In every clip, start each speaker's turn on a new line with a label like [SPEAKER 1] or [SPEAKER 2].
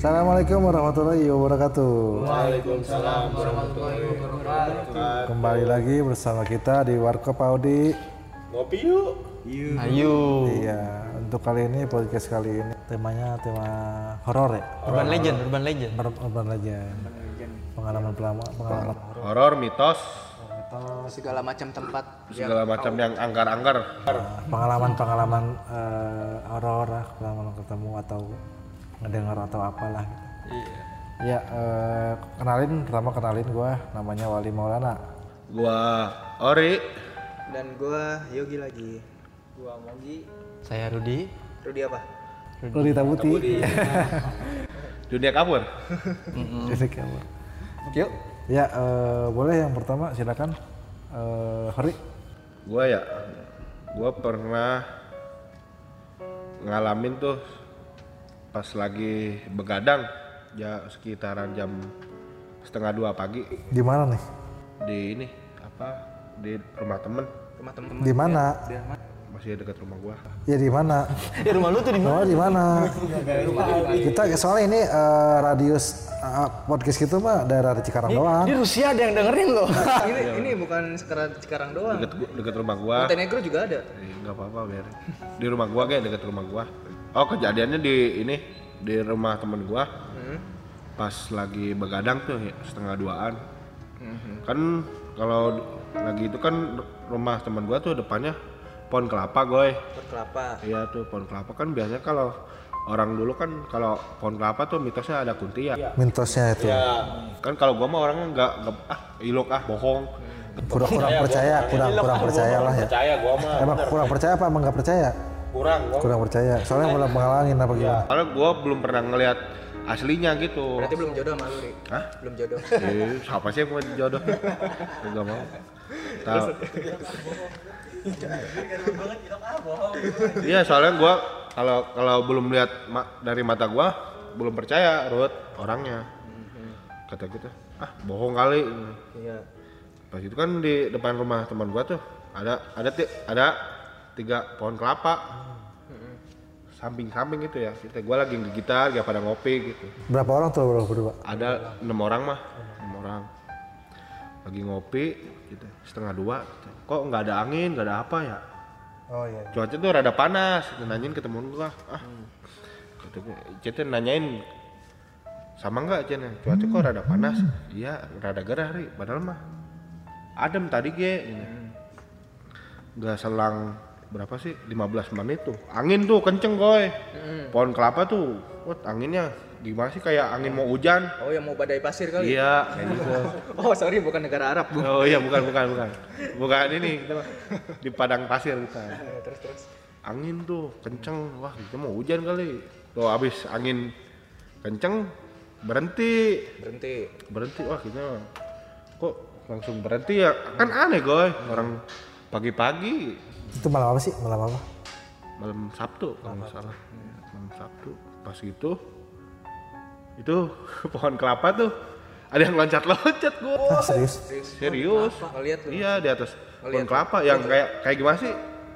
[SPEAKER 1] Assalamualaikum warahmatullahi wabarakatuh.
[SPEAKER 2] Waalaikumsalam warahmatullahi wabarakatuh.
[SPEAKER 1] Kembali lagi bersama kita di Warkop Audi.
[SPEAKER 2] Ngopi yuk.
[SPEAKER 3] Ayo.
[SPEAKER 1] Iya, untuk kali ini podcast kali ini temanya tema horor ya.
[SPEAKER 3] Urban Legend, Urban Legend.
[SPEAKER 1] Urban urban legend. Pengalaman pelama, pengalaman horor.
[SPEAKER 2] Horor, mitos,
[SPEAKER 4] segala macam tempat
[SPEAKER 2] segala macam yang angker-angker.
[SPEAKER 1] Pengalaman-pengalaman eh, horor, lah, pengalaman ketemu atau ngedengar atau apalah gitu. Iya. Ya, eh, kenalin pertama kenalin gua namanya Wali Maulana.
[SPEAKER 2] Gua Ori.
[SPEAKER 4] dan gua Yogi lagi gua Mogi
[SPEAKER 3] Saya Rudi.
[SPEAKER 4] Rudi apa
[SPEAKER 1] Rudita Putih.
[SPEAKER 2] Dunia kabur.
[SPEAKER 1] Jadi kamu.
[SPEAKER 3] Yuk.
[SPEAKER 1] Ya, eh, boleh yang pertama silakan eh Hori.
[SPEAKER 2] Gua ya, gua pernah ngalamin tuh pas lagi begadang ya sekitaran jam setengah dua pagi
[SPEAKER 1] Di mana nih?
[SPEAKER 2] di ini apa di rumah temen
[SPEAKER 4] rumah temen
[SPEAKER 1] Di mana?
[SPEAKER 2] masih dekat rumah gua
[SPEAKER 1] Ya di mana?
[SPEAKER 3] Ya rumah lu tuh di mana? Iya,
[SPEAKER 1] Oh, di mana? Kita soalnya ini eh, radius eh, podcast gitu mah daerah di Cikarang doang.
[SPEAKER 3] Di Rusia ada yang dengerin loh.
[SPEAKER 4] ini ini bukan sekarang Iya. sekarang doang
[SPEAKER 2] deket deket rumah gua
[SPEAKER 4] Montenegro juga ada
[SPEAKER 2] Eh, nggak apa-apa biar di rumah gua kayak deket rumah gua oh kejadiannya di ini di rumah temen gua pas lagi begadang tuh ya, setengah duaan kan kalau d- lagi itu kan r- rumah temen gua tuh depannya pohon kelapa goy
[SPEAKER 4] Tempat kelapa
[SPEAKER 2] iya tuh pohon kelapa kan biasanya kalau orang dulu kan kalau pohon kelapa tuh mitosnya ada kunti ya
[SPEAKER 1] Iya. Mintosnya itu.
[SPEAKER 2] kan kalau gua mah orangnya nggak nggak- ah ilok ah bohong
[SPEAKER 1] Kurang kurang percaya, kurang kurang percaya lah ya.
[SPEAKER 2] percaya gua mah
[SPEAKER 1] Emang kurang percaya apa emang nggak percaya?
[SPEAKER 2] kurang gua Iya.
[SPEAKER 1] Kurang percaya. Soalnya belum mengalangin apa gimana?
[SPEAKER 2] Karena gue belum pernah ngelihat aslinya gitu.
[SPEAKER 4] berarti belum jodoh sama lu Ri
[SPEAKER 2] Hah?
[SPEAKER 4] belum jodoh
[SPEAKER 2] Eh, siapa sih yang mau jodoh? Enggak mau. Tahu. Iya, soalnya gua kalau kalau belum lihat ma- dari mata gua belum percaya Ruth orangnya. Kata gitu, ah bohong kali.
[SPEAKER 4] iya
[SPEAKER 2] Pas itu kan di depan rumah teman gua tuh ada ada ti- ada tiga pohon kelapa samping-samping gitu ya kita gua lagi gitar gak pada ngopi gitu
[SPEAKER 1] Berapa orang tuh bro berdua?
[SPEAKER 2] ada enam orang mah enam orang lagi ngopi gitu setengah dua gitu. kok nggak ada angin nggak ada apa ya
[SPEAKER 1] Oh iya.
[SPEAKER 2] cuaca tuh rada panas Dia nanyain ke temen gua ah Kata gua, Cete nanyain sama nggak Cete cuaca kok rada panas iya rada gerah ri padahal mah adem tadi ge gitu. nggak selang berapa sih 15 menit tuh angin tuh kenceng goy pohon kelapa tuh wah anginnya gimana sih kayak angin mau hujan
[SPEAKER 4] oh yang mau badai pasir kali
[SPEAKER 2] Iya, kayak gitu.
[SPEAKER 4] oh sorry bukan negara Arab bu
[SPEAKER 2] Oh iya, bukan, bukan, bukan. Bukan ini, kita mah di padang pasir bukan.
[SPEAKER 4] Iya, terus terus
[SPEAKER 2] Angin tuh kenceng, wah kita mau hujan kali. Tuh abis angin kenceng, berhenti,
[SPEAKER 4] berhenti
[SPEAKER 2] berhenti. Wah kita mah, kok langsung berhenti ya? Kan aneh goy, orang pagi-pagi
[SPEAKER 1] Itu malam apa sih? Malam apa?
[SPEAKER 2] malam Sabtu kalau nggak salah. Malam Sabtu, pas gitu itu pohon kelapa tuh ada yang loncat-loncat
[SPEAKER 1] Ah,
[SPEAKER 2] gua.
[SPEAKER 1] serius?
[SPEAKER 2] Serius.
[SPEAKER 4] ngeliat lu
[SPEAKER 2] Iya di atas pohon kelapa yang kayak kayak gimana sih?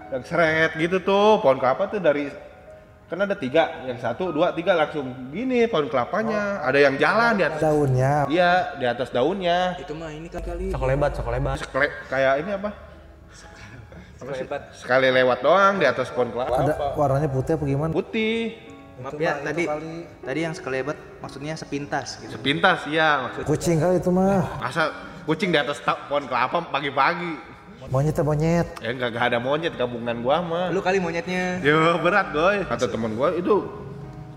[SPEAKER 2] Yang seret gitu tuh pohon kelapa tuh dari kan ada tiga, yang satu, dua, tiga langsung gini pohon kelapanya.
[SPEAKER 4] Oh.
[SPEAKER 2] Ada yang jalan di atas.
[SPEAKER 1] Daunnya
[SPEAKER 2] Iya di atas daunnya.
[SPEAKER 4] itu mah ini kan kali
[SPEAKER 3] Cokolebat, cokolebat.
[SPEAKER 2] Sekle- kayak ini apa?
[SPEAKER 4] hebat
[SPEAKER 2] Sekali lewat doang di atas pohon kelapa.
[SPEAKER 1] ada warnanya putih apa gimana?
[SPEAKER 2] Putih,
[SPEAKER 4] maaf ya tadi tadi yang sekelebat maksudnya sepintas gitu
[SPEAKER 2] sepintas ya maksud.
[SPEAKER 1] Kucing kali itu mah.
[SPEAKER 2] Masa kucing di atas ta- pohon kelapa pagi-pagi?
[SPEAKER 1] Monyet ya monyet.
[SPEAKER 2] Ya nggak nggak ada monyet gabungan gua mah.
[SPEAKER 4] lu kali monyetnya
[SPEAKER 2] Ya berat goy. Kata teman gue itu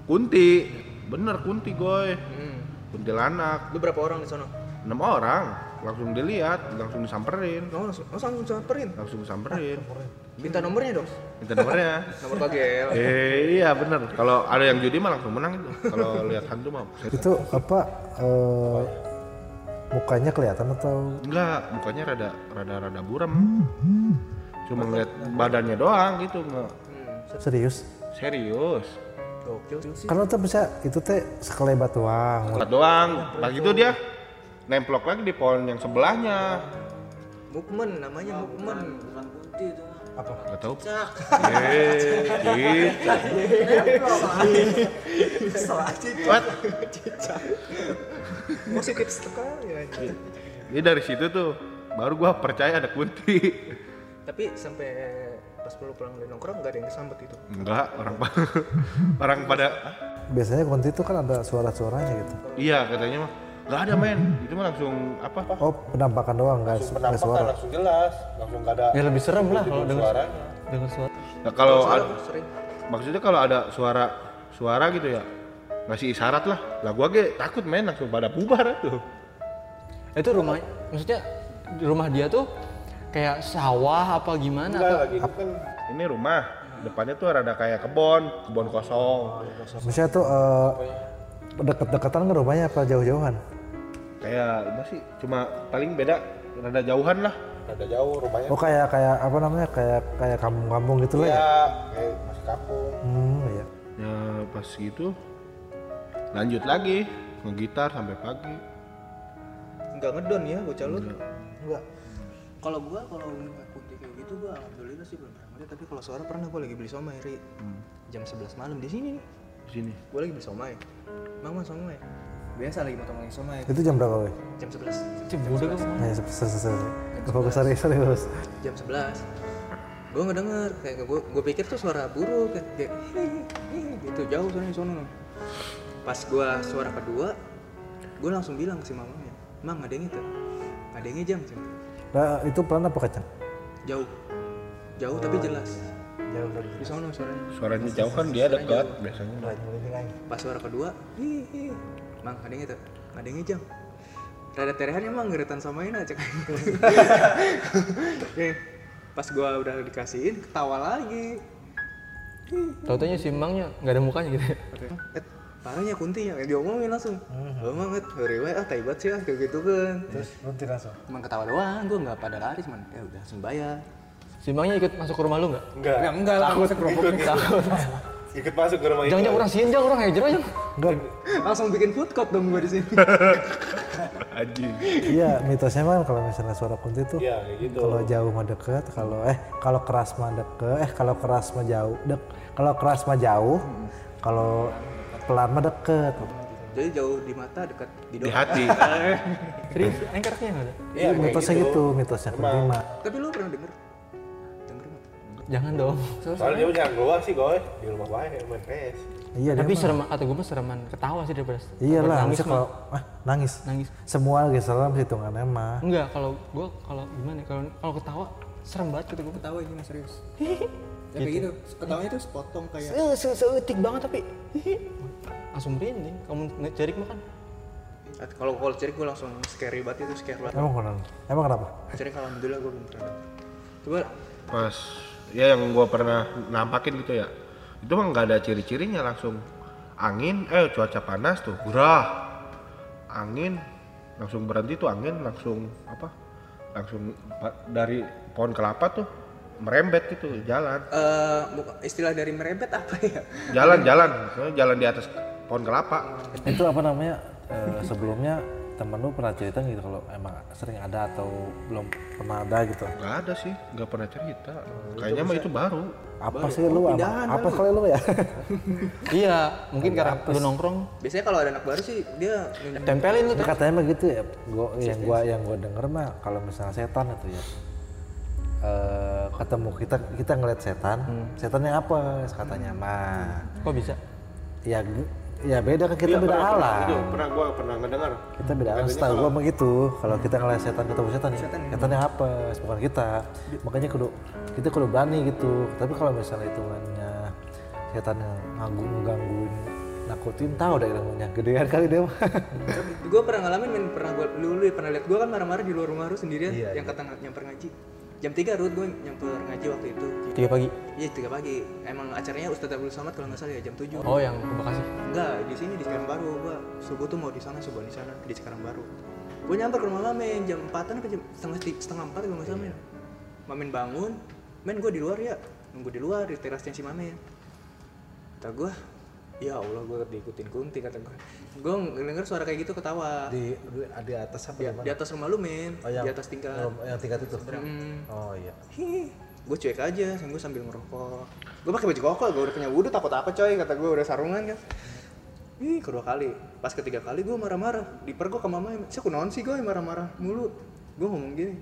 [SPEAKER 2] kunti, bener kunti goy.
[SPEAKER 4] Hmm.
[SPEAKER 2] Kuntilanak,
[SPEAKER 4] lu berapa orang di sana
[SPEAKER 2] enam orang langsung dilihat, langsung disamperin,
[SPEAKER 4] oh langsung oh, langsung samperin
[SPEAKER 2] langsung disamperin.
[SPEAKER 4] minta nomornya dong
[SPEAKER 2] Minta nomornya.
[SPEAKER 4] nomor
[SPEAKER 5] ya.
[SPEAKER 4] KGL
[SPEAKER 2] eh iya bener. Kalau ada yang judi mah langsung menang itu. Kalau lihat hantu mah buset.
[SPEAKER 1] itu apa eh, mukanya kelihatan atau
[SPEAKER 2] enggak, mukanya rada rada rada buram. Cuma ngeliat badannya doang gitu nggak
[SPEAKER 1] serius
[SPEAKER 2] serius.
[SPEAKER 4] Gokil sih.
[SPEAKER 1] karena tuh bisa itu teh sekelebat doang
[SPEAKER 2] Ngeliat doang. Pagi itu dia nemplok lagi di pohon yang sebelahnya.
[SPEAKER 4] Mukmen namanya Mukmen. Bukan kunti itu mah.
[SPEAKER 1] apa
[SPEAKER 2] Gak tau. Eh, cicak.
[SPEAKER 5] Salah cicak.
[SPEAKER 2] What?
[SPEAKER 5] Positif sekali anjing.
[SPEAKER 2] Ini dari situ tuh baru gua percaya ada kunti.
[SPEAKER 5] Tapi sampai pas lu pulang dari nongkrong nggak ada yang disambut itu.
[SPEAKER 2] Enggak, orang pada orang pada
[SPEAKER 1] biasanya kunti itu kan ada suara-suaranya gitu
[SPEAKER 2] iya katanya mah. Enggak ada men. Itu mah langsung apa?
[SPEAKER 1] oh penampakan doang guys nggak suara
[SPEAKER 2] langsung jelas, langsung gak ada.
[SPEAKER 3] Ya lebih serem lah kalau denger denger suara.
[SPEAKER 2] Nah, kalau ad-
[SPEAKER 5] Sering.
[SPEAKER 2] maksudnya kalau ada suara suara gitu ya ngasih isyarat lah. Lah gua ge takut men langsung pada bubar tuh.
[SPEAKER 3] Itu rumah maksudnya di rumah dia tuh kayak sawah apa gimana atau
[SPEAKER 2] kan Ini rumah depannya tuh rada kayak kebon, kebon kosong.
[SPEAKER 1] misalnya tuh eh, deket-deketan ke rumahnya apa jauh-jauhan
[SPEAKER 2] Kayak apa sih? Cuma paling beda rada jauhan lah. Rada jauh rumahnya.
[SPEAKER 1] oh kayak kayak apa namanya kayak kayak kampung-kampung gitu lah
[SPEAKER 2] Iya.
[SPEAKER 1] ya
[SPEAKER 2] kayak masih kampung.
[SPEAKER 1] hmm iya
[SPEAKER 2] Ya pas gitu lanjut lagi ngegitar sampai pagi.
[SPEAKER 5] Nggak ngedon ya bocah lu.
[SPEAKER 1] enggak
[SPEAKER 4] Kalau gua kalau ngeliat kunti kayak gitu gua alhamdulillah sih belum pernah.
[SPEAKER 5] Tapi kalau suara pernah gua lagi beli somai, Ri. Jam 11 malam di sini nih.
[SPEAKER 2] Di sini.
[SPEAKER 5] Gua lagi beli somai. Mang mang somai. Biasa lagi motong somai.
[SPEAKER 1] itu jam berapa weh?
[SPEAKER 5] Jam 11.
[SPEAKER 3] Itu budak apa?
[SPEAKER 1] Nah, ya, serius, serius, serius. Fokus, serius, serius.
[SPEAKER 5] jam 11 gue ngedenger kayak gue gue pikir tuh suara burung kayak, kayak "Hei, hei," gitu jauh soalnya sono pas gue suara kedua gue langsung bilang ke si mamanya mang ada yang itu ada yang jam Cem."
[SPEAKER 1] Nah, itu pelan apa kencang?
[SPEAKER 5] jauh jauh tapi jelas
[SPEAKER 1] Jauh dari
[SPEAKER 5] di sono suaranya
[SPEAKER 2] Suaranya jauh kan dia dekat biasanya.
[SPEAKER 5] pas suara kedua "Hei, hei." mang ada yang itu ada yang jam rada terehan emang geretan samain aja kan pas gue udah dikasihin ketawa lagi
[SPEAKER 3] Tahu-taunya si Mangnya nggak ada mukanya gitu. ya.
[SPEAKER 5] Et, Eh, parahnya kunti ya diomongin langsung gue mah nget riwe ah tai banget sih ah kayak gitu kan
[SPEAKER 1] Terus berhenti langsung.
[SPEAKER 5] cuman ketawa doang gue nggak pada lari cuman ya udah langsung bayar
[SPEAKER 3] Si Mangnya ikut masuk ke rumah lu nggak?
[SPEAKER 2] Enggak.
[SPEAKER 5] enggak lah langsung,
[SPEAKER 3] Takut.
[SPEAKER 2] Ikut masuk ke rumah
[SPEAKER 3] Jangan jangan orang sieun, jangan orang hajar aja.
[SPEAKER 1] Enggak,
[SPEAKER 5] langsung bikin food court dong gue di sini
[SPEAKER 2] Anjing.
[SPEAKER 1] iya mitosnya kan kalau misalnya suara kunti itu
[SPEAKER 2] Iya, kayak gitu.
[SPEAKER 1] kalau jauh mah deket, kalau eh kalau keras mah deket, eh kalau keras mah jauh, dek, kalau keras mah jauh, kalau pelan mah deket.
[SPEAKER 2] Iya,
[SPEAKER 5] jadi jauh di mata dekat di
[SPEAKER 2] Di
[SPEAKER 5] doa
[SPEAKER 2] hati.
[SPEAKER 3] Serius, engkernya nggak ada.
[SPEAKER 1] Iya, mitosnya gitu, mitosnya kunti mah.
[SPEAKER 5] tapi lu pernah denger denger nggak?
[SPEAKER 3] Jangan dong.
[SPEAKER 2] Soalnya dia jangan keluar sih, Goy. Di rumah bae main PS.
[SPEAKER 1] Iya, dia
[SPEAKER 3] Tapi
[SPEAKER 1] mah.
[SPEAKER 3] serem atau gue mah sereman ketawa sih daripada
[SPEAKER 1] Iya
[SPEAKER 3] daripada
[SPEAKER 1] lah,
[SPEAKER 3] nangis
[SPEAKER 1] harusnya
[SPEAKER 3] mah.
[SPEAKER 1] kalau ah, nangis.
[SPEAKER 3] Nangis.
[SPEAKER 1] Semua lagi salam hitungannya mah.
[SPEAKER 3] Enggak, kalau gue kalau gimana? ya, Kalau kalau ketawa serem banget gitu gue.
[SPEAKER 5] ketawa ini mas serius tapi gitu. ketawanya tuh sepotong kayak
[SPEAKER 3] Eh, se seutik banget tapi langsung merinding. Kamu cari makan.
[SPEAKER 5] kalau kalau cerik gue langsung scary banget itu scary banget
[SPEAKER 1] Emang kenapa? Emang kenapa?
[SPEAKER 5] cerik alhamdulillah gue belum pernah coba
[SPEAKER 2] Pas ya yang gua pernah nampakin gitu ya. Itu mah nggak ada ciri-cirinya langsung angin, eh cuaca panas tuh, gerah. Angin langsung berhenti tuh angin langsung apa? Langsung pa- dari pohon kelapa tuh merembet gitu jalan.
[SPEAKER 5] eh, buka- istilah dari merebet apa ya
[SPEAKER 2] Jalan jalan, Maksudnya jalan di atas pohon kelapa.
[SPEAKER 1] itu apa namanya eh, sebelumnya temen lu pernah cerita gitu kalau emang sering ada atau belum pernah ada gitu
[SPEAKER 2] Nggak ada sih, nggak pernah cerita. Kayaknya mah itu baru.
[SPEAKER 1] apa sih
[SPEAKER 2] Oh,
[SPEAKER 1] lu ama- apa kali lu ya
[SPEAKER 3] iya, mungkin karena lu nongkrong
[SPEAKER 5] biasanya kalau ada anak baru sih dia nunjuk
[SPEAKER 3] tempelin lu tuh.
[SPEAKER 1] katanya mah gitu ya gua yang gua yang gua denger mah kalau misalnya setan itu ya eh, ketemu kita kita ngeliat setan setannya apa katanya mah
[SPEAKER 3] Hmm. Kok bisa?
[SPEAKER 1] ya gu- ya beda kan kita beda alam
[SPEAKER 2] Pernah gua pernah ngedengar.
[SPEAKER 1] kita beda alam setahu gua mah gitu kalau kita ngeliat setan ketemu setan ya setannya apa bukan kita makanya kudu kita kudu berani gitu tapi kalau misalnya itu hanya setan yang nganggu gangguin nakutin tahu deh ilmunya gedean kali dia mah.
[SPEAKER 5] gue pernah ngalamin men pernah gue lu, lu pernah lihat gue kan marah-marah di luar rumah lu sendirian yang kata nggak nyamper ngaji jam 3 rut gue nyamper ngaji waktu itu
[SPEAKER 3] Tiga pagi.
[SPEAKER 5] iya tiga pagi emang acaranya Ustadz Abdul Somad kalau nggak salah ya jam 7
[SPEAKER 3] Oh, yang ke Bekasi.
[SPEAKER 5] enggak di sini di sekarang baru gue subuh tuh mau di sana subuh di sana di sekarang baru gue nyamper ke rumah mamen jam 4an apa jam setengah ti- setengah empat ya kalau nggak salah
[SPEAKER 1] Iya.
[SPEAKER 5] men mamen bangun men gue di luar ya nunggu di luar di terasnya si mamen kata gue ya Allah gue diikutin kunti kata gue gue denger suara kayak gitu ketawa
[SPEAKER 1] di, di di atas apa
[SPEAKER 5] di atas rumah lu men
[SPEAKER 1] yang-
[SPEAKER 5] di atas tingkat
[SPEAKER 1] yang tingkat itu
[SPEAKER 5] Hmm.
[SPEAKER 1] oh iya
[SPEAKER 5] Hi. gue cuek aja sambil gue sambil ngerokok gue pakai baju koko gue udah punya wudhu takut apa coy kata gue udah sarungan kan Ih, kedua kali. Pas ketiga kali gue marah-marah. Dipergok ke mama, saya kunaon sih gue marah-marah mulu. Gue ngomong gini,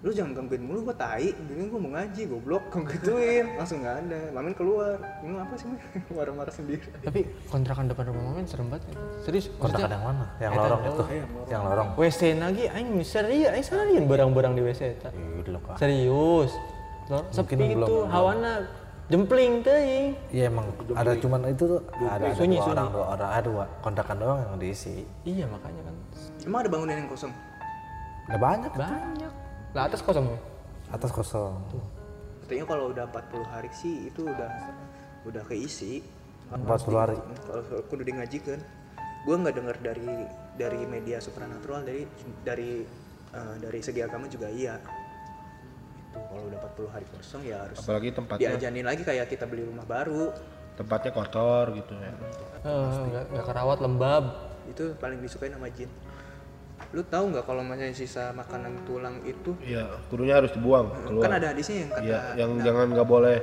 [SPEAKER 5] lu jangan gangguin mulu gue tai gini gue mau ngaji goblok kau gituin langsung nggak ada mamin keluar ini apa sih Min?" marah-marah sendiri
[SPEAKER 3] Tapi kontrakan depan rumah mamin serem banget. Serius.
[SPEAKER 1] Kontrakan
[SPEAKER 3] maksudnya-
[SPEAKER 1] yang mana? Yang
[SPEAKER 3] Eta
[SPEAKER 1] lorong
[SPEAKER 3] yang
[SPEAKER 1] itu. Yang Oh, iya, lorong.
[SPEAKER 3] WC lagi, aing serius, aing seharian barang-barang di WC eta.
[SPEAKER 1] Iya, dulu kah.
[SPEAKER 3] Serius. Lor- Sepi
[SPEAKER 1] belum,
[SPEAKER 3] itu,
[SPEAKER 1] belum.
[SPEAKER 3] hawana jempling teuing.
[SPEAKER 1] Iya emang ada cuman itu tuh ada, ada
[SPEAKER 3] Sunyi,
[SPEAKER 1] dua
[SPEAKER 3] sunyi.
[SPEAKER 1] orang dua orang ada dua kontrakan doang yang diisi.
[SPEAKER 3] Iya makanya kan.
[SPEAKER 5] emang ada bangunan yang kosong
[SPEAKER 1] Ada banyak
[SPEAKER 3] Banyak. Lah atas kosong. Min.
[SPEAKER 1] atas kosong.
[SPEAKER 5] katanya kalau udah 40 hari sih itu udah udah keisi
[SPEAKER 1] 40 hari.
[SPEAKER 5] kalau soal kudu di ngaji kan gue nggak dengar dari dari media supranatural dari dari eh, dari segi agama juga iya itu kalau udah 40 hari kosong ya harus
[SPEAKER 2] Apalagi tempatnya.
[SPEAKER 5] diajanin lagi kayak kita beli rumah baru
[SPEAKER 2] tempatnya kotor gitu ya
[SPEAKER 3] Eh, nggak nggak kerawat lembab.
[SPEAKER 5] itu paling disukai sama jin lu tahu nggak kalau misalnya sisa makanan tulang itu
[SPEAKER 2] iya kudunya harus dibuang keluar
[SPEAKER 5] kan ada hadisnya yang kata
[SPEAKER 2] iya yang jangan nggak boleh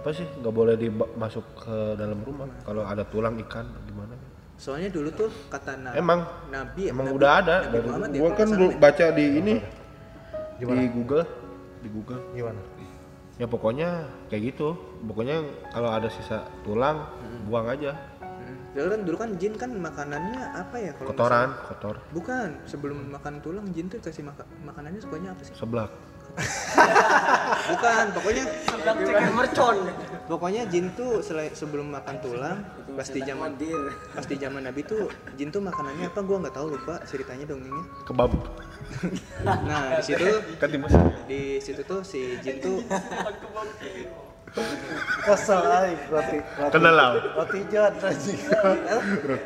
[SPEAKER 2] apa sih nggak boleh dimasuk ke dalam rumah kalau ada tulang ikan gimana
[SPEAKER 5] soalnya dulu tuh kata na-
[SPEAKER 2] Emang.
[SPEAKER 5] nabi
[SPEAKER 2] emang
[SPEAKER 5] nabi-
[SPEAKER 2] udah ada
[SPEAKER 5] nabi
[SPEAKER 2] dari
[SPEAKER 5] Muhammad ya,
[SPEAKER 2] gua
[SPEAKER 5] kalau
[SPEAKER 2] kan
[SPEAKER 5] nggak
[SPEAKER 2] dulu
[SPEAKER 5] salah,
[SPEAKER 2] baca di ini di Google di Google
[SPEAKER 1] Gimana?
[SPEAKER 2] ya pokoknya kayak gitu pokoknya kalau ada sisa tulang buang aja
[SPEAKER 5] men. Hmm. Dulu kan dulu kan jin kan makanannya apa ya kalau
[SPEAKER 2] kotoran
[SPEAKER 5] misalnya-
[SPEAKER 2] kotor
[SPEAKER 5] bukan sebelum makan tulang jin tuh kasih maka- makanannya sukanya apa sih
[SPEAKER 2] seblak
[SPEAKER 5] bukan pokoknya
[SPEAKER 6] mercon.
[SPEAKER 5] pokoknya jin tuh selai- sebelum makan tulang pas di zaman pas di zaman nabi tuh jin tuh makanannya apa gua nggak tahu lupa ceritanya dongengnya
[SPEAKER 2] kebab
[SPEAKER 5] nah di situ
[SPEAKER 2] kan di Mesir
[SPEAKER 5] di situ tuh si Jin tuh
[SPEAKER 1] Kesel aja roti roti,
[SPEAKER 2] kenal lah
[SPEAKER 1] roti jod Eh,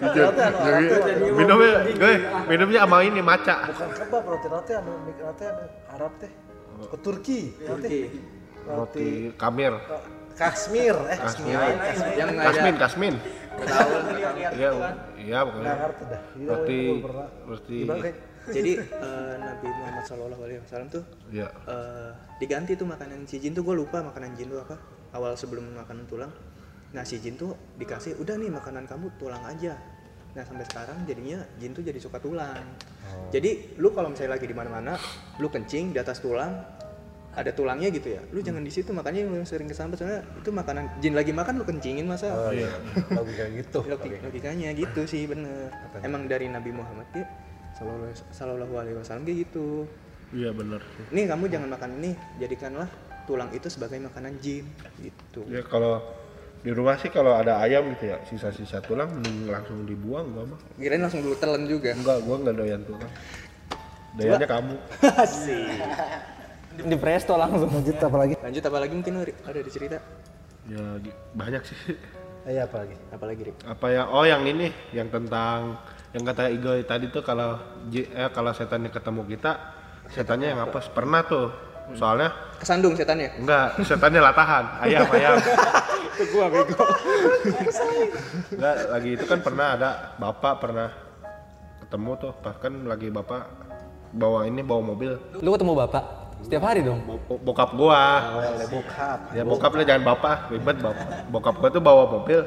[SPEAKER 1] aja.
[SPEAKER 2] Roti jod. minumnya gue minumnya sama ini maca
[SPEAKER 1] Bukan kebab roti roti anu roti anu Arab teh. Ke Turki. Roti. Roti
[SPEAKER 2] roti kamir
[SPEAKER 1] Kashmir eh
[SPEAKER 2] kasmin
[SPEAKER 5] yang
[SPEAKER 2] kasmin
[SPEAKER 5] ada
[SPEAKER 2] kasmin iya iya
[SPEAKER 1] nggak
[SPEAKER 2] pokoknya
[SPEAKER 1] ngerti dah. Gila,
[SPEAKER 2] roti
[SPEAKER 1] gua belum pernah.
[SPEAKER 2] roti
[SPEAKER 1] Gimana, Kak?
[SPEAKER 5] jadi eh, Nabi Muhammad Shallallahu Alaihi Wasallam tuh
[SPEAKER 2] iya
[SPEAKER 5] eh, diganti tuh makanan si Jin tuh gue lupa makanan Jin tuh apa awal sebelum makanan tulang nah si Jin tuh dikasih udah nih makanan kamu tulang aja nah sampai sekarang jadinya Jin tuh jadi suka tulang
[SPEAKER 1] Oh.
[SPEAKER 5] jadi lu kalau misalnya lagi di mana-mana lu kencing di atas tulang ada tulangnya gitu ya
[SPEAKER 1] Hmm.
[SPEAKER 5] lu jangan di situ makanya lu sering kesambar soalnya itu makanan Jin lagi makan lu kencingin masa
[SPEAKER 1] Oh iya. Logika gitu.
[SPEAKER 5] Logi- logikanya gitu sih bener emang dari Nabi Muhammad ya Sallallahu alaihi- Sallallahu Alaihi Wasallam kayak gitu
[SPEAKER 2] iya benar
[SPEAKER 5] nih kamu jangan makan ini jadikanlah tulang itu sebagai makanan jin gitu
[SPEAKER 2] ya kalau di rumah sih kalau ada ayam gitu ya sisa-sisa tulang mending langsung dibuang gua mah
[SPEAKER 5] kirain langsung dulu telan juga
[SPEAKER 2] enggak gua enggak doyan tulang doyannya kamu
[SPEAKER 3] Di presto langsung.
[SPEAKER 1] Lanjut apa lagi?
[SPEAKER 5] lanjut apalagi mungkin Ri? ada di cerita
[SPEAKER 2] ya gi- banyak sih
[SPEAKER 1] Iya apa lagi?
[SPEAKER 5] apalagi Rip?
[SPEAKER 2] apa ya oh yang ini yang tentang yang kata Igo tadi tuh kalau ji- eh, kalau setannya ketemu kita setannya yang apa pernah tuh soalnya
[SPEAKER 5] kesandung setannya
[SPEAKER 2] enggak setannya latahan ayam ayam
[SPEAKER 5] ke gua bego
[SPEAKER 2] enggak lagi itu kan pernah ada bapak pernah ketemu tuh bahkan lagi bapak bawa ini bawa mobil
[SPEAKER 3] Lu ketemu bapak setiap hari dong.
[SPEAKER 2] Bo- bo- bokap gua
[SPEAKER 1] Bokap.
[SPEAKER 2] ya bokap lah jangan bapak ribet bapak bokap gua tuh bawa mobil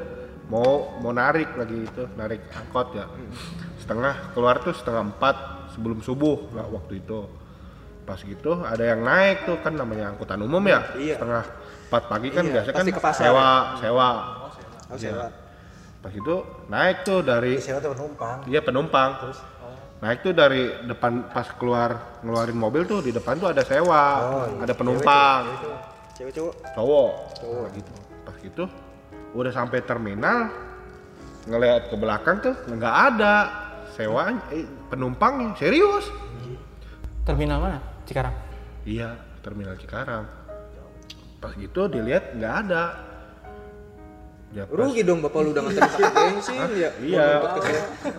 [SPEAKER 2] mau mau narik lagi itu narik angkot ya setengah keluar tuh setengah empat sebelum subuh lah waktu itu pas gitu ada yang naik tuh kan namanya angkutan umum ya
[SPEAKER 5] Iya.
[SPEAKER 2] setengah empat pagi kan
[SPEAKER 5] Iya,
[SPEAKER 2] biasa kan
[SPEAKER 5] pasti ke pasar.
[SPEAKER 2] sewa sewa
[SPEAKER 5] harus
[SPEAKER 2] Iya.
[SPEAKER 5] sewa
[SPEAKER 2] pas itu naik tuh dari
[SPEAKER 1] Siapa tuh penumpang?
[SPEAKER 2] Iya penumpang. Naik tuh dari depan pas keluar ngeluarin mobil tuh di depan tuh ada sewa,
[SPEAKER 5] Oh, iya.
[SPEAKER 2] ada penumpang,
[SPEAKER 5] cewek cowok
[SPEAKER 2] cowok. Nah, gitu. Pas gitu udah sampai terminal ngelihat ke belakang tuh nggak ada sewa eh, penumpangnya serius.
[SPEAKER 3] Terminal mana? Cikarang.
[SPEAKER 2] Iya terminal Cikarang. Pas gitu dilihat nggak ada. Ya, pas-
[SPEAKER 5] rugi dong bapak lu udah nganterin pakai bensin ya
[SPEAKER 2] Iya.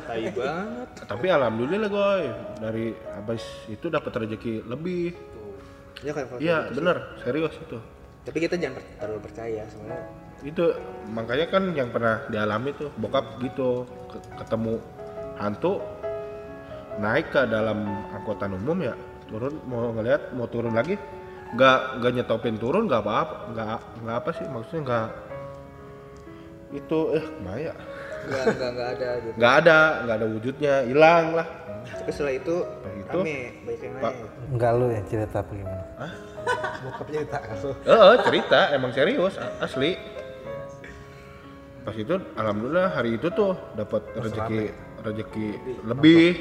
[SPEAKER 5] tai banget
[SPEAKER 2] Tapi alhamdulillah goy dari habis itu dapat rezeki lebih.
[SPEAKER 5] ya kan kalau
[SPEAKER 2] Iya bener serius itu.
[SPEAKER 5] tapi kita jangan per- terlalu percaya sebenarnya
[SPEAKER 2] itu makanya kan yang pernah dialami tuh bokap gitu ke- ketemu hantu naik ke dalam angkutan umum ya turun mau ngeliat mau turun lagi nggak nggak nyetopin turun nggak apa-apa nggak nggak apa sih maksudnya nggak itu eh bahaya
[SPEAKER 5] nggak nggak nggak ada gitu
[SPEAKER 2] nggak ada nggak ada wujudnya hilang lah
[SPEAKER 5] tapi setelah itu
[SPEAKER 2] Setelah Nah, itu,
[SPEAKER 5] rame banyak yang
[SPEAKER 2] Pak-
[SPEAKER 5] nanya
[SPEAKER 1] Enggak lu yang cerita apa gimana? kan,
[SPEAKER 2] Eh, eh, cerita emang serius a- asli. Pas itu alhamdulillah hari itu tuh dapat rezeki rezeki lebih.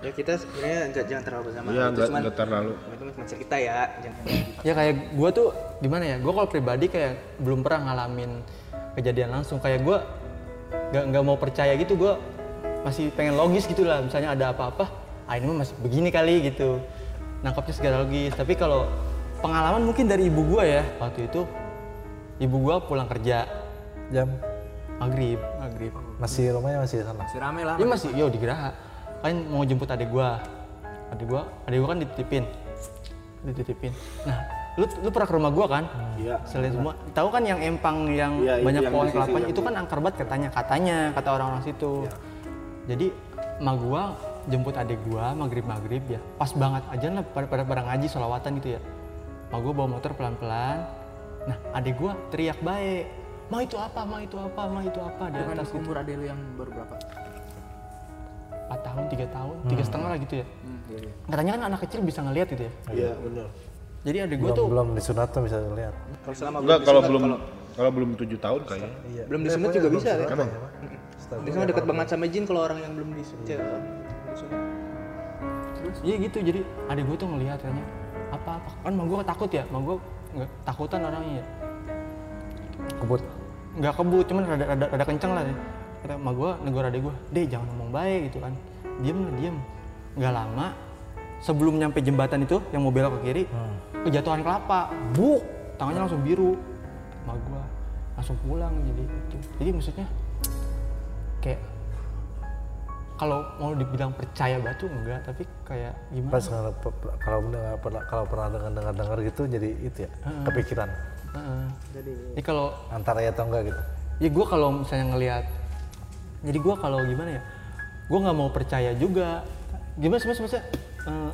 [SPEAKER 5] ya kita sebenarnya nggak jangan terlalu bersama
[SPEAKER 2] Iya,
[SPEAKER 5] itu
[SPEAKER 2] nggak
[SPEAKER 5] cuman
[SPEAKER 2] nggak terlalu.
[SPEAKER 5] itu cuma cerita ya jangan
[SPEAKER 3] ya kayak gue tuh gimana ya gue kalau pribadi kayak belum pernah ngalamin kejadian langsung kayak gue nggak nggak mau percaya gitu gue masih pengen logis gitu lah misalnya ada apa-apa ah ini mah masih begini kali gitu nangkapnya segala logis tapi kalau pengalaman mungkin dari ibu gue ya waktu itu ibu gue pulang kerja
[SPEAKER 1] Jam
[SPEAKER 3] maghrib maghrib
[SPEAKER 1] masih rumahnya masih di sana.
[SPEAKER 6] Si rame lah.
[SPEAKER 3] dia masih yo di Geraha Iya, kan mau jemput adik gua adik gua adik gua kan dititipin dititipin nah lu lu pernah ke rumah gua kan iya selain semua tahu kan yang empang yang
[SPEAKER 2] Hmm. Iya, itu
[SPEAKER 3] banyak
[SPEAKER 2] yang
[SPEAKER 3] pohon
[SPEAKER 2] di sisi Iya.
[SPEAKER 3] kelapanya
[SPEAKER 2] yang
[SPEAKER 3] itu kan angker banget katanya katanya kata orang-orang situ jadi emak gua jemput adik gua maghrib maghrib ya pas banget aja lah pada pada pada ngaji solawatan gitu ya emak gua bawa motor pelan-pelan nah adik gua teriak baik ma itu apa ma itu apa ma itu apa di
[SPEAKER 6] Dengan
[SPEAKER 3] atas gitu
[SPEAKER 6] umur ade lu yang baru berapa?
[SPEAKER 3] 4 tahun, tiga tahun, tiga setengah lah gitu ya.
[SPEAKER 6] Hmm, iya, iya.
[SPEAKER 3] Katanya kan anak kecil bisa ngelihat gitu ya.
[SPEAKER 2] Iya benar.
[SPEAKER 3] Jadi ada gue
[SPEAKER 1] Belum,
[SPEAKER 3] tuh
[SPEAKER 1] belum di Sunata bisa lihat.
[SPEAKER 5] kalau selama
[SPEAKER 2] Enggak kalau belum kalau belum tujuh tahun kayaknya.
[SPEAKER 1] Iya.
[SPEAKER 5] belum
[SPEAKER 1] Eh,
[SPEAKER 5] disunat juga bisa kan
[SPEAKER 2] Emang
[SPEAKER 5] di sana dekat banget sama jin kalau orang yang belum disunat
[SPEAKER 2] Iya.
[SPEAKER 5] ya, disunat.
[SPEAKER 3] Iya gitu, jadi adik gue tuh ngelihat katanya apa apa kan mah gue takut ya, mah gue nggak takutan orangnya ya.
[SPEAKER 1] Kebut.
[SPEAKER 3] Nggak kebut, cuman rada rada, rada kenceng lah. Ya. Kata mah gue negor adik gue, deh jangan ngomong baik gitu kan. Diem lah diem. Nggak lama, sebelum nyampe jembatan itu yang mau belok ke kiri, kejatuhan kelapa, buk, tangannya langsung biru. Mah gue langsung pulang jadi itu. Jadi maksudnya kayak kalau mau dibilang percaya batu enggak tapi kayak gimana
[SPEAKER 1] Pas kalau kalau mendengar kalau pernah dengar dengar dengar gitu jadi itu ya
[SPEAKER 5] Hmm.
[SPEAKER 1] kepikiran
[SPEAKER 3] Heeh. jadi kalau
[SPEAKER 1] antara ya atau enggak gitu.
[SPEAKER 3] ya gue kalau misalnya ngelihat jadi gue kalau gimana ya gue nggak mau percaya juga gimana sih Mas? maksudnya eh,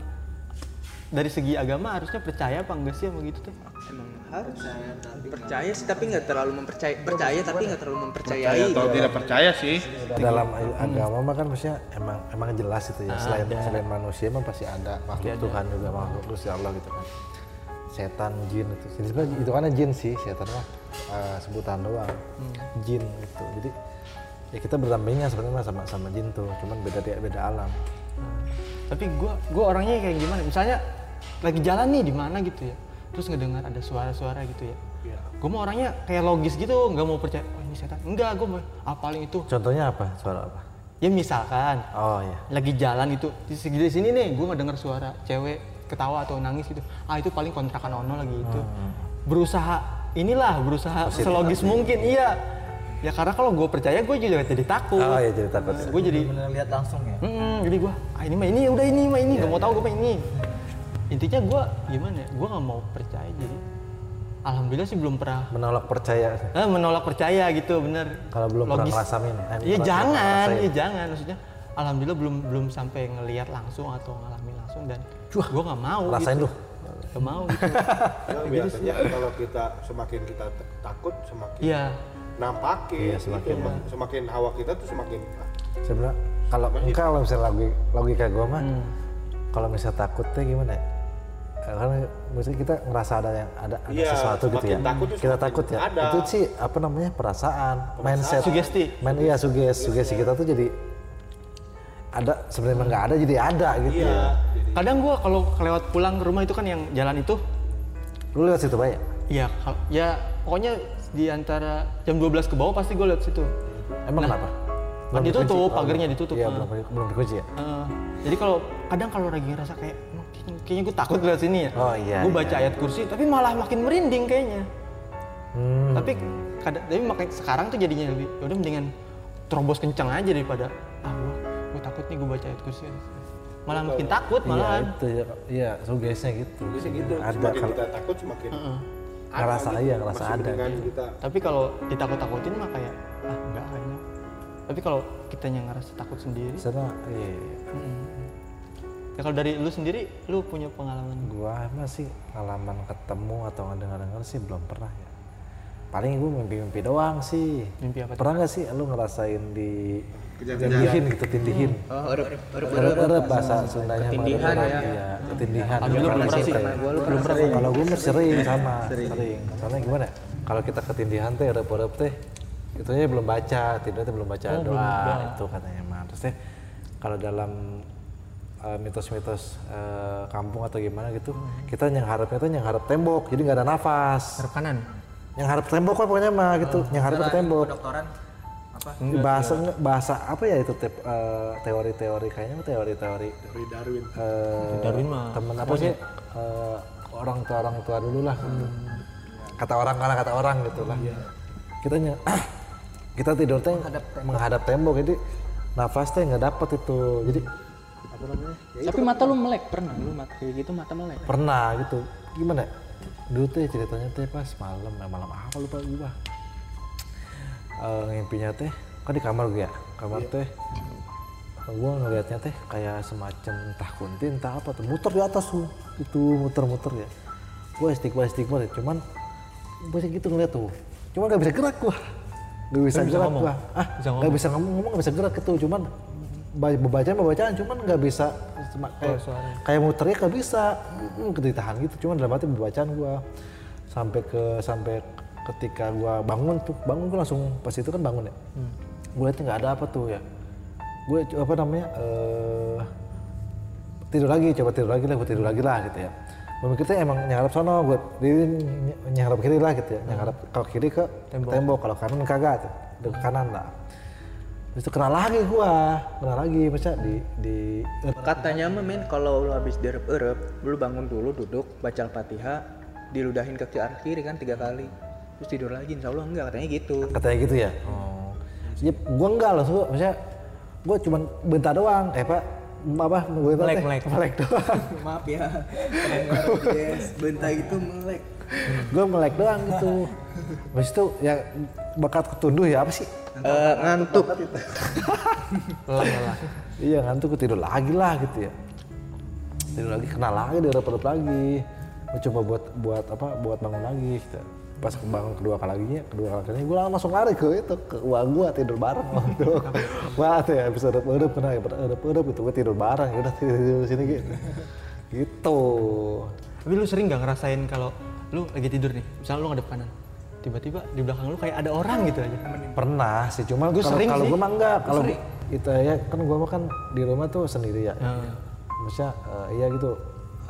[SPEAKER 3] dari segi agama harusnya percaya apa enggak sih sama gitu tuh
[SPEAKER 5] emang harus percaya sih tapi nggak terlalu mempercaya percaya tapi nggak terlalu mempercayai
[SPEAKER 2] percaya atau tidak percaya sih.
[SPEAKER 1] dalam agama mah kan maksudnya emang emang jelas itu ya selain selain manusia mah pasti ada makhluk Tuhan juga makhluk terus ya Allah gitu kan setan jin itu jadi sebenarnya itu kan jin sih setan mah eh, sebutan doang jin gitu jadi ya kita berdampingan sebenarnya mah sama sama jin tuh cuman beda dia beda alam
[SPEAKER 3] tapi gue gua orangnya kayak gimana misalnya lagi jalan nih di mana gitu ya terus ngedengar ada suara-suara gitu ya gue mau orangnya kayak logis gitu nggak mau percaya oh ini setan enggak gue mau ah paling itu
[SPEAKER 1] contohnya apa suara apa
[SPEAKER 3] ya misalkan
[SPEAKER 1] oh ya
[SPEAKER 3] lagi jalan itu di segi di sini nih gue ngedenger suara cewek ketawa atau nangis gitu ah itu paling kontrakan ono lagi itu
[SPEAKER 1] Hmm.
[SPEAKER 3] berusaha inilah berusaha selogis mungkin iya ya karena kalau gue percaya gue juga jadi takut
[SPEAKER 1] oh ya jadi takut ya.
[SPEAKER 3] gue jadi
[SPEAKER 6] Bener lihat langsung ya.
[SPEAKER 3] Mm-mm, jadi gue ah ini mah ini udah ini mah ini gak
[SPEAKER 1] Iya,
[SPEAKER 3] mau tahu gue mah ini intinya gue gimana ya gue nggak mau percaya jadi alhamdulillah sih belum pernah
[SPEAKER 1] menolak percaya
[SPEAKER 3] eh, menolak percaya gitu bener
[SPEAKER 1] Kalau belum pernah ngerasamin, eh,
[SPEAKER 3] iya
[SPEAKER 1] pernah
[SPEAKER 3] jangan
[SPEAKER 1] ngerasain.
[SPEAKER 3] iya jangan maksudnya alhamdulillah belum belum sampai ngelihat langsung atau ngalamin langsung dan wah gue nggak mau
[SPEAKER 1] rasain
[SPEAKER 3] gitu.
[SPEAKER 1] lu
[SPEAKER 3] Nggak mau gitu
[SPEAKER 1] Iya,
[SPEAKER 2] biasanya kalau kita semakin kita takut semakin
[SPEAKER 3] iya
[SPEAKER 2] nampakin
[SPEAKER 1] Iya, semakin- Gitu,
[SPEAKER 2] semakin hawa kita tuh semakin
[SPEAKER 1] sebenarnya kalau enggak kalau misalnya logika, logika gue mah
[SPEAKER 3] Hmm.
[SPEAKER 1] kalau misalnya takutnya gimana ya Eh, karena misalnya kita ngerasa ada yang ada ada
[SPEAKER 2] Iya,
[SPEAKER 1] sesuatu gitu ya
[SPEAKER 2] semakin takut tuh
[SPEAKER 1] kita
[SPEAKER 2] semakin
[SPEAKER 1] takut ya
[SPEAKER 2] ada.
[SPEAKER 1] itu sih apa namanya perasaan, mindset
[SPEAKER 3] Sugesti.
[SPEAKER 1] main iya suges sugesti kita tuh jadi ada sebenarnya emang nggak ada jadi ada gitu
[SPEAKER 2] Iya.
[SPEAKER 3] kadang gue kalau kelewat pulang ke rumah itu kan yang jalan itu
[SPEAKER 1] lu lihat situ banyak
[SPEAKER 3] ya kal- ya pokoknya di antara jam 12 ke bawah pasti gue lihat situ
[SPEAKER 1] emang
[SPEAKER 3] Nah,
[SPEAKER 1] kenapa
[SPEAKER 3] kan ditutup,
[SPEAKER 1] dikunci? Oh,
[SPEAKER 3] pagarnya
[SPEAKER 1] belum.
[SPEAKER 3] ditutup,
[SPEAKER 1] iya
[SPEAKER 3] ah.
[SPEAKER 1] belum belum dikunci ya
[SPEAKER 3] Eh, jadi kalau kadang kalau lagi ngerasa kayak "Emang kayaknya- kayaknya gue takut lihat sini ya
[SPEAKER 1] Oh, iya,
[SPEAKER 3] gue baca ayat kursi tapi malah makin merinding kayaknya tapi kadang tapi makin sekarang tuh jadinya lebih ya udah mendingan terobos kencang aja daripada ah gue gue takut nih gue baca ayat kursi malah makin takut
[SPEAKER 1] iya
[SPEAKER 3] malahan
[SPEAKER 1] itu ya iya sugesnya gitu ada
[SPEAKER 2] semakin
[SPEAKER 1] kalau
[SPEAKER 2] kita takut semakin
[SPEAKER 1] ngerasa iya ngerasa ada
[SPEAKER 2] dengan kita
[SPEAKER 3] tapi kalau ditakut-takutin mah kayak ah enggak kayaknya tapi kalau kitanya ngerasa takut sendiri
[SPEAKER 1] sana iya, iya.
[SPEAKER 3] ya kalau dari lu sendiri lu punya pengalaman
[SPEAKER 1] Gua masih pengalaman ketemu atau dengar-dengar sih belum pernah ya. Paling gue mimpi-mimpi doang sih.
[SPEAKER 3] Mimpi apa tuh?
[SPEAKER 1] Pernah nggak sih lu ngerasain di
[SPEAKER 2] Kejar-kejaran.
[SPEAKER 1] tindihin gitu tindihin?
[SPEAKER 6] Oh, udah udah
[SPEAKER 1] Terus bahasa Sundanya mah
[SPEAKER 6] Ketindihan
[SPEAKER 1] ada-
[SPEAKER 6] ya.
[SPEAKER 1] Iya, ketindihan.
[SPEAKER 3] Kalau lu belum pernah sih.
[SPEAKER 6] Gua lu
[SPEAKER 1] Belum pernah. Kalau gue mah sering sama, sering. Soalnya gimana? ya? Kalau kita ketindihan teh rep-rep teh itunya belum baca, tidurnya teh belum baca doa itu katanya mah. Terus teh kalau dalam eh, mitos-mitos eh, kampung atau gimana gitu, kita yang harapnya tuh yang harap tembok, jadi nggak ada nafas.
[SPEAKER 3] Harap kanan
[SPEAKER 1] Yang harap tembok lah pokoknya mah gitu, yang harap ke tembok.
[SPEAKER 6] doktoran apa?
[SPEAKER 1] bahasa bahasa apa ya itu tep- eh, teori-teori kayaknya mah teori-teori
[SPEAKER 2] Dari Darwin.
[SPEAKER 1] eh,
[SPEAKER 3] Darwin mah
[SPEAKER 1] temen apa sih eh, orang tua orang tua dulu lah gitu. kata orang karena kata orang gitu lah kita nye- kita tidur teh menghadap tembok jadi nafas teh nggak dapet itu jadi
[SPEAKER 7] Tapi mata lu melek pernah lu mata kayak gitu mata melek.
[SPEAKER 1] pernah gitu gimana ya? dulu teh ceritanya teh pas malam eh, malam apa lupa gua Eh ngimpinya teh kan di kamar gue ya kamar teh gue ngelihatnya teh kayak semacam entah kunti entah apa tuh muter di atas tuh itu muter-muter ya gue istighfar istighfar ya cuman gue sih gitu ngeliat tuh cuman gak bisa gerak gua gak bisa gerak gua ah gak bisa ngomong ngomong gak bisa gerak gitu cuman ba- bacaan bacaan cuman gak bisa cuma kayak, kayak muternya gak bisa hmm, ditahan gitu cuman dalam hati bacaan gua sampai ke sampai ketika gua bangun tuh bangun gua langsung pas itu kan bangun ya gue liatnya nggak ada apa tuh ya gue apa namanya eh, tidur lagi coba tidur lagi lah gue tidur lagi lah gitu ya gue mikirnya emang nyarap sono gue jadi ny- nyarap kiri lah gitu ya nyarap kalau kiri ke tembok, kalau kanan kagak tuh Udah ke kanan lah Habis itu kena lagi gua kena lagi masa di di
[SPEAKER 5] Katanya mah men kalau lu habis derep-erep, lu bangun dulu duduk, baca Al-Fatihah, diludahin ke arah kiri kan tiga kali. Terus tidur lagi, insya Allah enggak katanya gitu.
[SPEAKER 1] katanya gitu ya oh. ya gue enggak loh gua, maksudnya gue cuman bentar doang eh pak apa gue melek melek melek doang
[SPEAKER 5] Maaf ya. yes, bentar itu melek.
[SPEAKER 1] gue melek doang gitu habis itu ya bakat ketunduh ya apa sih
[SPEAKER 5] Eh, ngantuk.
[SPEAKER 1] Iya ngantuk tidur lagi lah gitu ya. Tidur lagi kena lagi di perut lagi. Gua coba buat buat apa buat bangun lagi. Gitu. Pas bangun kedua kalinya, kedua kalinya gue langsung lari ke itu ke uang gue tidur bareng. Waduh. Wah tuh ya bisa udah udah kena ya udah udah gitu gue tidur bareng ya udah tidur, tidur di sini gitu. Gitu.
[SPEAKER 3] tapi lu sering nggak ngerasain kalau lu lagi tidur nih misalnya lu ngadep kanan tiba-tiba di belakang lu kayak ada orang gitu aja
[SPEAKER 1] Pernah sih, cuman gue
[SPEAKER 3] sering
[SPEAKER 1] kalau
[SPEAKER 3] sih.
[SPEAKER 1] gue mah enggak. Kalau itu ya kan gue mah kan di rumah tuh sendiri ya. Maksudnya eh, iya gitu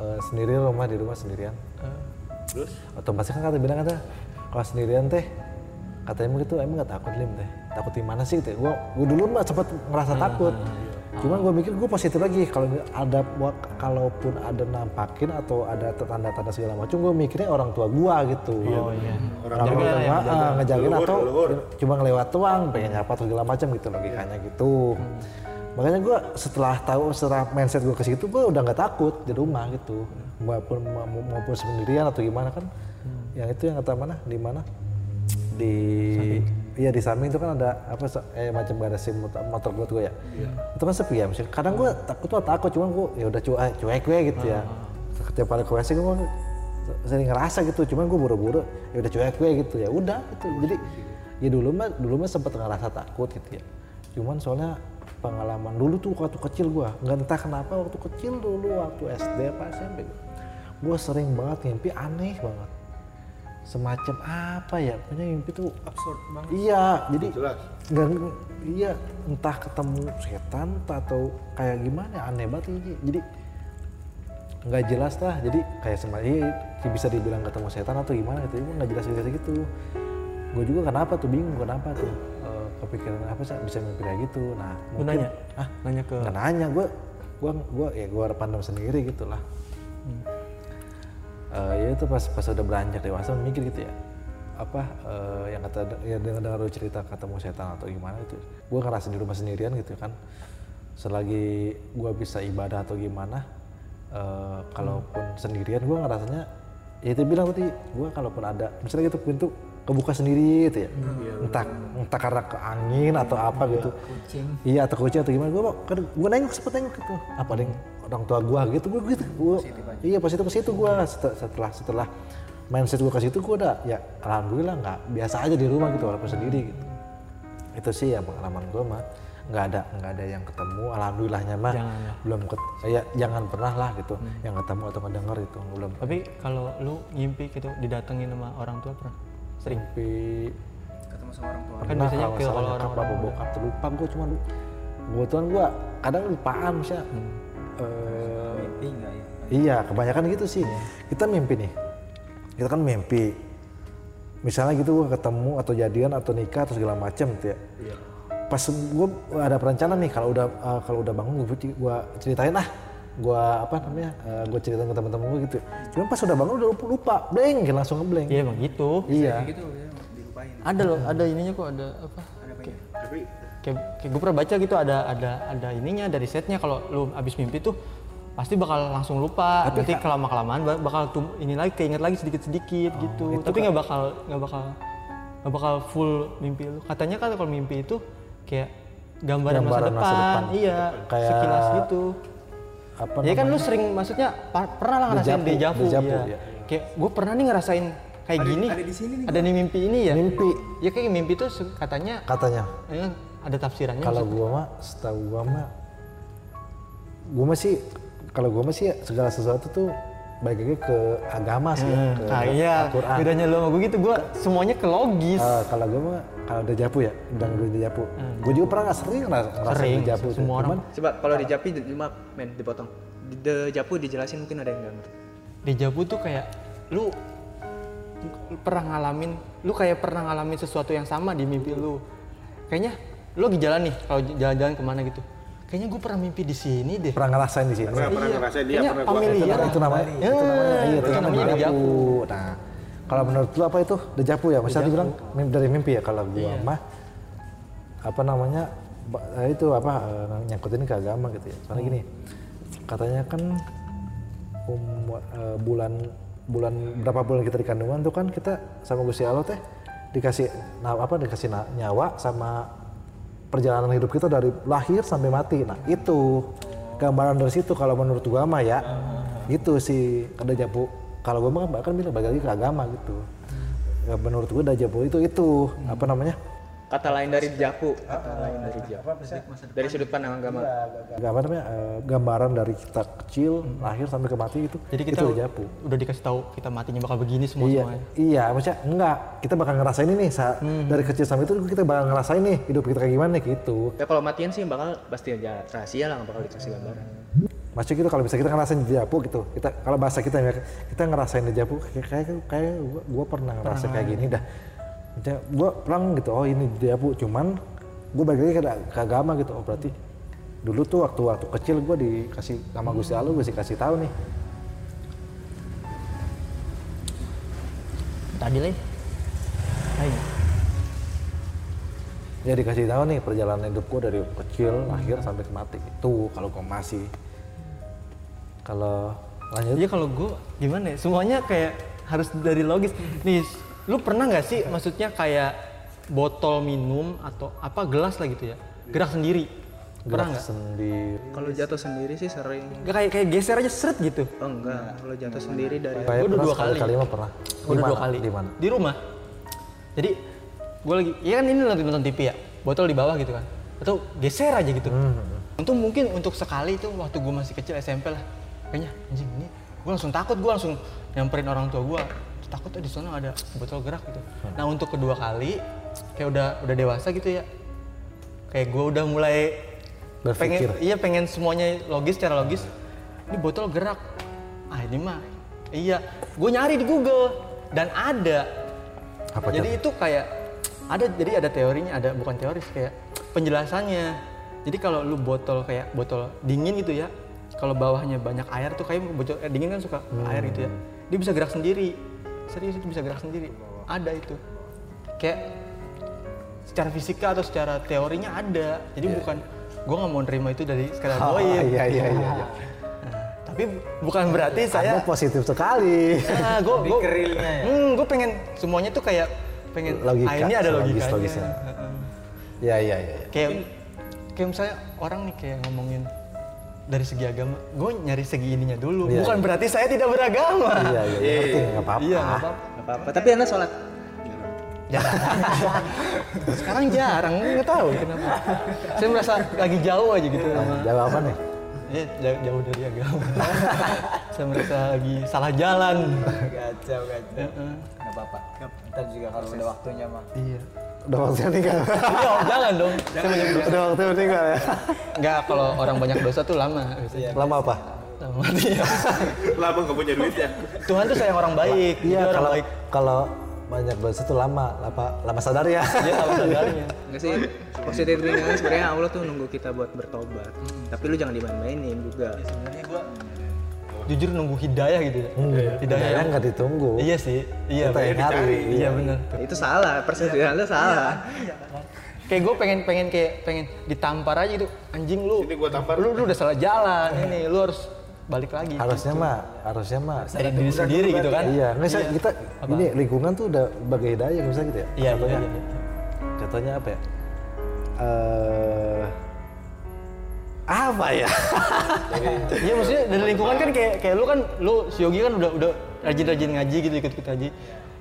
[SPEAKER 1] eh, sendiri rumah di rumah sendirian.
[SPEAKER 3] Eh,
[SPEAKER 1] Terus? Otomatis kan kata bilang kata kalau sendirian teh katanya emang gitu emang gak takut lim teh takut di mana sih teh gue gue dulu mah cepet ngerasa takut cuman gue mikir gue positif lagi kalau ada buat kalaupun ada nampakin atau ada tanda-tanda segala macam gue mikirnya orang tua gue gitu oh, iya. orang tua gue ngejagain atau cuma ngelewat doang pengen nyapa atau segala macam gitu logikanya gitu makanya gue setelah tahu setelah mindset gue ke situ gue udah nggak takut di rumah gitu maupun ma- maupun sendirian atau gimana kan yang itu yang kata mana di mana di iya di samping itu kan ada apa se- eh macam garasi motor, motor buat gue ya itu kan sepi ya misalnya kadang gue takut tuh takut cuman gue ya udah cuek cuek gue gitu ya setiap kali ke WC gue sering ngerasa gitu cuman gue buru-buru ya udah cuek gue gitu ya udah gitu jadi ya dulu mah dulu mah sempet ngerasa takut gitu ya cuman soalnya pengalaman dulu tuh waktu kecil gua nggak entah kenapa waktu kecil dulu waktu SD apa SMP gua sering banget mimpi aneh banget semacam apa ya punya mimpi tuh absurd banget iya jadi
[SPEAKER 2] Jelas.
[SPEAKER 1] nggak iya entah ketemu setan atau kayak gimana aneh banget ini jadi nggak jelas lah jadi kayak semacam iya, bisa dibilang ketemu setan atau gimana gitu Cuma nggak jelas jelas gitu gue juga kenapa tuh bingung kenapa tuh Eh, kepikiran apa sih bisa mimpi kayak gitu nah
[SPEAKER 3] lu
[SPEAKER 1] mungkin-
[SPEAKER 3] nanya
[SPEAKER 1] ah
[SPEAKER 3] nanya ke
[SPEAKER 1] nggak nanya gue gue gue ya gue pandang sendiri gitu lah Eh, ya itu pas pas udah beranjak dewasa mikir gitu ya apa eh, yang kata ya dengar dengar lu cerita ketemu setan atau gimana gitu gue ngerasa di rumah sendirian gitu kan selagi gue bisa ibadah atau gimana eh, kalaupun sendirian gue ngerasanya ya itu bilang tadi gue kalaupun ada misalnya gitu pintu kebuka sendiri gitu ya
[SPEAKER 3] Hmm. Iya,
[SPEAKER 1] entah entah karena ke angin atau apa gitu
[SPEAKER 6] kucing
[SPEAKER 1] iya atau kucing atau gimana gue kan gue nengok sempet nengok gitu apa ada yang orang tua gue gitu gue gitu gue iya pas itu ke situ gue Set- setelah setelah mindset gue ke situ gue udah ya alhamdulillah nggak biasa aja di rumah gitu walaupun sendiri gitu itu sih ya pengalaman gue mah nggak ada nggak ada yang ketemu alhamdulillahnya mah
[SPEAKER 3] Jangan ya. Hmm.
[SPEAKER 1] belum ket, ya jangan pernah lah gitu yang ketemu atau ngedenger gitu belum
[SPEAKER 3] Tapi kalau lu ngimpi gitu didatengin sama orang tua pernah? Sering. Kan
[SPEAKER 1] tapi
[SPEAKER 6] ketemu sama orang tua
[SPEAKER 1] pernah
[SPEAKER 3] biasanya
[SPEAKER 1] kalau nggak
[SPEAKER 3] feel
[SPEAKER 1] salah
[SPEAKER 3] kalau
[SPEAKER 1] nyokap
[SPEAKER 3] orang-orang
[SPEAKER 1] apa bokap tuh lupa gue cuma lu- kebetulan gue kadang lupaan sih
[SPEAKER 3] Hmm.
[SPEAKER 1] Eh,
[SPEAKER 6] mimpi nggak ya
[SPEAKER 1] Iya, kebanyakan gitu sih. Kita mimpi nih. Kita kan mimpi. Misalnya gitu gue ketemu atau jadian atau nikah atau segala macam gitu ya.
[SPEAKER 3] Iya.
[SPEAKER 1] Pas gue ada perencana nih kalau udah eh, kalau udah bangun gue ceritain ah gue apa namanya gue ceritain ke teman-teman gue gitu. Cuman pas udah bangun udah lupa, lupa blank gitu, langsung ngebleng.
[SPEAKER 3] Iya emang gitu.
[SPEAKER 1] Iya.
[SPEAKER 6] gitu ya dilupain
[SPEAKER 3] Ada loh, ada ininya kok ada apa?
[SPEAKER 6] ada banyak
[SPEAKER 3] Kayak, kayak gue pernah baca gitu ada ada ada ininya dari setnya kalau lu abis mimpi tuh pasti bakal langsung lupa. Nanti kelama kelamaan bakal tum, ini lagi keinget lagi sedikit sedikit gitu. Tapi nggak bakal nggak bakal nggak bakal full mimpi lu. Katanya kan kalau mimpi itu kayak gambaran,
[SPEAKER 1] Gambaran
[SPEAKER 3] masa,
[SPEAKER 1] masa
[SPEAKER 3] depan.
[SPEAKER 1] depan.
[SPEAKER 3] Iya,
[SPEAKER 1] Kayak-
[SPEAKER 3] sekilas gitu.
[SPEAKER 1] Apa
[SPEAKER 3] Ya kan
[SPEAKER 1] namanya?
[SPEAKER 3] lu sering maksudnya pa- pernah lah ngerasain
[SPEAKER 1] Dejavu,
[SPEAKER 3] dejavu,
[SPEAKER 1] dejavu,
[SPEAKER 3] iya.
[SPEAKER 1] iya.
[SPEAKER 3] Kayak gue pernah nih ngerasain kayak gini.
[SPEAKER 6] ada di sini nih
[SPEAKER 3] Ada di mimpi ini ya.
[SPEAKER 1] Mimpi.
[SPEAKER 3] Ya kayak mimpi tuh se- katanya
[SPEAKER 1] Katanya
[SPEAKER 3] eh, ada tafsirannya.
[SPEAKER 1] kalau
[SPEAKER 3] maksud-
[SPEAKER 1] gue mah setahu gue mah gue masih kalau gue masih ya, segala sesuatu tuh baik lagi ke agama sih ya, ke
[SPEAKER 3] Ah iya,
[SPEAKER 1] Al-Quran.
[SPEAKER 3] bedanya lu sama gue gitu, gue semuanya ke logis.
[SPEAKER 1] Eh, kalau gue mah kalau udah japu ya, udah udah japu. Gue juga pernah nggak sering ngeras- ngerasa
[SPEAKER 3] Hmm. Sering,
[SPEAKER 1] udah japu.
[SPEAKER 3] semua orang.
[SPEAKER 1] Cuman
[SPEAKER 5] Coba kalau di Japi, di- maaf men, dipotong. Di di Japu dijelasin mungkin ada yang nggak ngerti.
[SPEAKER 3] Dejavu tuh kayak lu lu pernah ngalamin, lu kayak pernah ngalamin sesuatu yang sama di mimpi lu. Kayaknya lu lagi jalan nih, kalau j- jalan-jalan kemana gitu. Kayaknya gue pernah mimpi di sini deh.
[SPEAKER 1] pernah ngerasain di sini.
[SPEAKER 2] Pernah, pernah ngerasain dia,
[SPEAKER 3] Kayaknya
[SPEAKER 2] pernah
[SPEAKER 1] Itu,
[SPEAKER 2] gua.
[SPEAKER 3] familiar.
[SPEAKER 1] namanya- itu namanya,
[SPEAKER 3] Ya,
[SPEAKER 1] itu namanya, iya, itu
[SPEAKER 3] itu
[SPEAKER 1] namanya
[SPEAKER 3] namanya
[SPEAKER 1] dejapu.
[SPEAKER 3] dejavu.
[SPEAKER 1] Nah, kalau menurut lu apa itu dejapu ya? Maksudnya dibilang mimpi dari mimpi ya kalau gue
[SPEAKER 3] Iya.
[SPEAKER 1] mah apa namanya ba- eh, itu apa eh, nyangkutin ke agama gitu ya. Soalnya gini, katanya kan um- eh, bulan bulan berapa bulan kita di kandungan tuh kan kita sama Gusti Allah teh dikasih na- apa dikasih na- nyawa sama perjalanan hidup kita dari lahir sampai mati. Nah itu gambaran dari situ kalau menurut gua mah ya gitu sih ada japu. Kalau gua mah kan bahkan bilang balik lagi ke agama gitu. Ya, menurut gua ada japu itu itu apa namanya
[SPEAKER 5] Kata lain dari Japu, kata lain dari Japu. Iya. Dari sudut pandang agama.
[SPEAKER 1] gambar namanya eh, gambaran dari kita kecil lahir sampai ke mati itu
[SPEAKER 3] Hmm. Jadi kita
[SPEAKER 1] itu ada japu.
[SPEAKER 3] udah dikasih tahu kita matinya bakal begini semua
[SPEAKER 1] Iya,
[SPEAKER 3] semuanya. Hmm.
[SPEAKER 1] iya, maksudnya enggak. Kita bakal ngerasain ini sa- dari kecil sampai itu kita bakal ngerasain nih hidup kita kayak gimana gitu.
[SPEAKER 5] Ya kalau matian sih bakal pasti aja rahasia lah, nggak bakal dikasih gambaran.
[SPEAKER 1] Maksudnya gitu kalau bisa kita ngerasain dejavu gitu. Kita kalau bahasa kita ya, kita ngerasain dejavu kayak kayak kayak gua, gua pernah ngerasa kayak gini dah. Maksudnya gua perang gitu. Oh ini dejavu cuman gua balik lagi ke, ke agama gitu. Oh berarti dulu tuh waktu waktu kecil gua dikasih sama Gusti Allah gua dikasih tahu nih.
[SPEAKER 3] Tadi lain. Lain.
[SPEAKER 1] Ya dikasih tahu nih perjalanan hidup gua dari kecil lahir sampai ke mati. Itu kalau gua masih kalau lanjut
[SPEAKER 3] Iya kalau gue gimana ya? Semuanya kayak harus dari logis. Nih, lu pernah nggak sih maksudnya kayak botol minum atau apa gelas lah gitu ya? Gerak sendiri. Pernah
[SPEAKER 1] gerak
[SPEAKER 3] nggak?
[SPEAKER 1] sendiri
[SPEAKER 5] Kalau jatuh sendiri sih sering.
[SPEAKER 3] Nggak kayak kayak geser aja seret gitu.
[SPEAKER 5] Oh enggak, kalau jatuh sendiri dari
[SPEAKER 1] Kayak
[SPEAKER 3] udah
[SPEAKER 1] pernah
[SPEAKER 3] dua
[SPEAKER 1] sekali-
[SPEAKER 3] kali.
[SPEAKER 1] kali mah pernah. Di
[SPEAKER 3] Udah dua
[SPEAKER 1] mana?
[SPEAKER 3] kali.
[SPEAKER 1] Di mana?
[SPEAKER 3] Di rumah. Jadi gue lagi, ya kan ini lagi nonton TV ya, botol di bawah gitu kan. Atau geser aja gitu.
[SPEAKER 1] Hmm,
[SPEAKER 3] Untuk mungkin untuk sekali itu waktu gue masih kecil SMP lah. Kayaknya anjing ini gue langsung takut, gue langsung nyamperin orang tua gue. Takut tuh di sana ada botol gerak gitu.
[SPEAKER 1] Hmm.
[SPEAKER 3] Nah untuk kedua kali kayak udah udah dewasa gitu ya. Kayak gue udah mulai
[SPEAKER 1] Berpikir.
[SPEAKER 3] pengen iya pengen semuanya logis secara logis ini botol gerak ah ini mah iya gue nyari di Google dan ada
[SPEAKER 1] Apa
[SPEAKER 3] jadi itu kayak ada jadi ada teorinya ada bukan teoris kayak penjelasannya jadi kalau lu botol kayak botol dingin gitu ya kalau bawahnya banyak air tuh kayak botol air dingin kan suka air gitu ya dia bisa gerak sendiri serius itu bisa gerak sendiri ada itu kayak secara fisika atau secara teorinya ada jadi bukan gue nggak mau nerima itu dari sekadar
[SPEAKER 1] Iya. Oh,
[SPEAKER 3] goib
[SPEAKER 1] iya, iya, iya, iya.
[SPEAKER 3] Nah, tapi bukan berarti saya "Ah,
[SPEAKER 1] Anda positif sekali.
[SPEAKER 3] gue gue pengen Hmm, semuanya tuh kayak pengen
[SPEAKER 1] ya?" Logika,
[SPEAKER 3] ah, ini ada
[SPEAKER 1] logis- ya.
[SPEAKER 3] logikanya.
[SPEAKER 1] logisnya.
[SPEAKER 3] Heeh.
[SPEAKER 1] Iya iya iya. iya.
[SPEAKER 3] Kayak kayak misalnya orang nih kayak ngomongin dari segi agama, gue nyari segi ininya dulu.
[SPEAKER 1] Iya,
[SPEAKER 3] Bukan
[SPEAKER 1] iya.
[SPEAKER 3] berarti saya tidak beragama.
[SPEAKER 1] Iya iya ngerti nggak apa-apa.
[SPEAKER 3] Iya, nggak apa-apa.
[SPEAKER 5] Gak apa-apa. Tapi anda sholat.
[SPEAKER 3] Jarang. Sekarang jarang, nggak tahu kenapa. Saya merasa lagi jauh aja gitu sama.
[SPEAKER 1] Jawaban nih.
[SPEAKER 3] Ya, jauh, jauh dari agama. saya merasa lagi salah jalan.
[SPEAKER 6] Gacau, gacau. Gak apa-apa. Ntar juga kalau udah waktunya mah.
[SPEAKER 3] Iya.
[SPEAKER 1] Udah waktunya nikah.
[SPEAKER 3] Iya, jangan dong. Saya banyak dosa.
[SPEAKER 1] Udah waktunya nikah ya.
[SPEAKER 3] Enggak, kalau orang banyak dosa tuh lama
[SPEAKER 6] Iya.
[SPEAKER 3] biasanya.
[SPEAKER 1] Lama apa?
[SPEAKER 3] Lama iya. mati.
[SPEAKER 2] Lama gak punya duit ya.
[SPEAKER 3] Tuhan tuh sayang orang baik.
[SPEAKER 1] Iya
[SPEAKER 3] Dia orang
[SPEAKER 1] kalau
[SPEAKER 3] baik.
[SPEAKER 1] kalau banyak dosa tuh lama, lama, lama sadar ya.
[SPEAKER 3] Dia tahu sadarnya.
[SPEAKER 5] Enggak sih. Positif thinking sebenarnya Allah tuh nunggu kita buat bertobat. Tapi lu jangan dimain-mainin juga.
[SPEAKER 3] Jujur nunggu hidayah gitu ya.
[SPEAKER 6] Hmm.
[SPEAKER 3] Hidayah.
[SPEAKER 1] Hidayah Hmm, nggak ditunggu.
[SPEAKER 3] Iya sih. Iya.
[SPEAKER 1] Kita yang
[SPEAKER 3] bener.
[SPEAKER 1] nyari.
[SPEAKER 3] Iya benar.
[SPEAKER 5] Itu salah, persepsian lu salah.
[SPEAKER 3] Kayak gue pengen pengen kayak pengen ditampar aja gitu. Anjing lu.
[SPEAKER 2] Sini gua tampar.
[SPEAKER 3] Lu, lu udah salah jalan ini. Lu harus balik lagi.
[SPEAKER 1] Harusnya mah, harusnya mah.
[SPEAKER 3] dari Gitu. diri sendiri gitu kan.
[SPEAKER 1] Iya, misalnya kita ini lingkungan tuh udah bagai hidayah misalnya gitu ya.
[SPEAKER 3] Iya,
[SPEAKER 1] contohnya,
[SPEAKER 3] iya, iya.
[SPEAKER 1] contohnya apa ya? Eh apa ya?
[SPEAKER 3] Iya maksudnya dari lingkungan kan kayak kayak lu kan lu si Yogi kan udah udah rajin-rajin ngaji gitu ikut-ikut ngaji.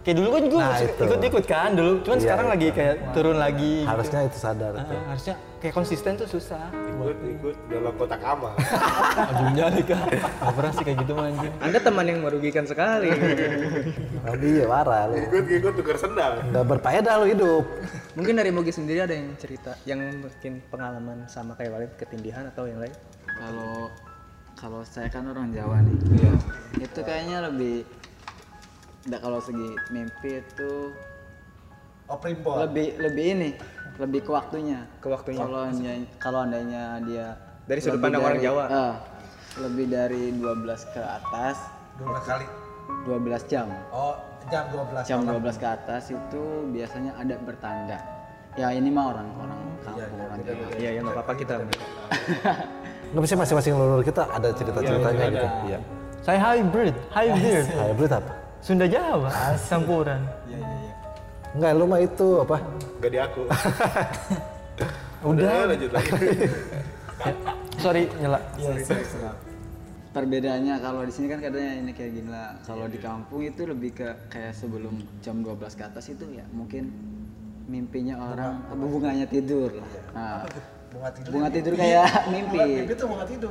[SPEAKER 3] Kayak dulu kan gue
[SPEAKER 1] Nah, itu.
[SPEAKER 3] ikut-ikut kan dulu, cuman
[SPEAKER 1] Iya,
[SPEAKER 3] sekarang
[SPEAKER 1] itu.
[SPEAKER 3] lagi kayak turun lagi. gitu.
[SPEAKER 1] harusnya itu sadar.
[SPEAKER 3] Ah,
[SPEAKER 1] tuh.
[SPEAKER 3] harusnya kayak konsisten tuh susah.
[SPEAKER 2] Ikut ikut dalam kotak amal.
[SPEAKER 1] iya
[SPEAKER 3] Ujungnya nih kan. Gak pernah sih kayak gitu mah anjing.
[SPEAKER 5] Anda teman yang merugikan sekali.
[SPEAKER 1] Tapi iya parah lu.
[SPEAKER 2] Ikut ikut tukar sendal.
[SPEAKER 1] Gak berfaedah lu hidup.
[SPEAKER 5] Mungkin dari Mogi sendiri ada yang cerita yang mungkin pengalaman sama kayak Walid ketindihan atau yang lain?
[SPEAKER 6] Kalau kalau saya kan orang Jawa nih.
[SPEAKER 5] Iya.
[SPEAKER 6] Itu kayaknya lebih Nggak kalau segi mimpi itu lebih lebih ini lebih ke waktunya
[SPEAKER 5] Ke waktunya.
[SPEAKER 6] kalau andainya, kalau andainya dia
[SPEAKER 5] Dari sudut
[SPEAKER 6] lebih
[SPEAKER 5] pandang orang Jawa.
[SPEAKER 6] eh, lebih dari 12 ke atas
[SPEAKER 8] 12 kali.
[SPEAKER 6] 12 jam
[SPEAKER 8] Oh, jam 12.
[SPEAKER 6] jam 12 ke atas itu biasanya ada bertanda ya ini mah orang orang kampung orang Jawa
[SPEAKER 5] Iya, yang nggak apa-apa kita.
[SPEAKER 1] Nggak bisa masing-masing lulur kita ada cerita-ceritanya gitu. Iya.
[SPEAKER 3] Saya hybrid, hybrid.
[SPEAKER 1] Hybrid apa?
[SPEAKER 3] Sunda Jawa, campuran.
[SPEAKER 1] Enggak, lu mah itu apa?
[SPEAKER 2] Gak diaku.
[SPEAKER 3] Udah.
[SPEAKER 2] lanjut lagi.
[SPEAKER 5] Iya.
[SPEAKER 3] Sorry, nyela.
[SPEAKER 6] perbedaannya kalau di sini kan katanya ini kayak gini lah kalau di kampung itu lebih ke kayak sebelum jam 12 ke atas itu ya mungkin mimpinya orang apa bunganya tidur lah Nah, bunga tidur, kayak mimpi mimpi itu bunga tidur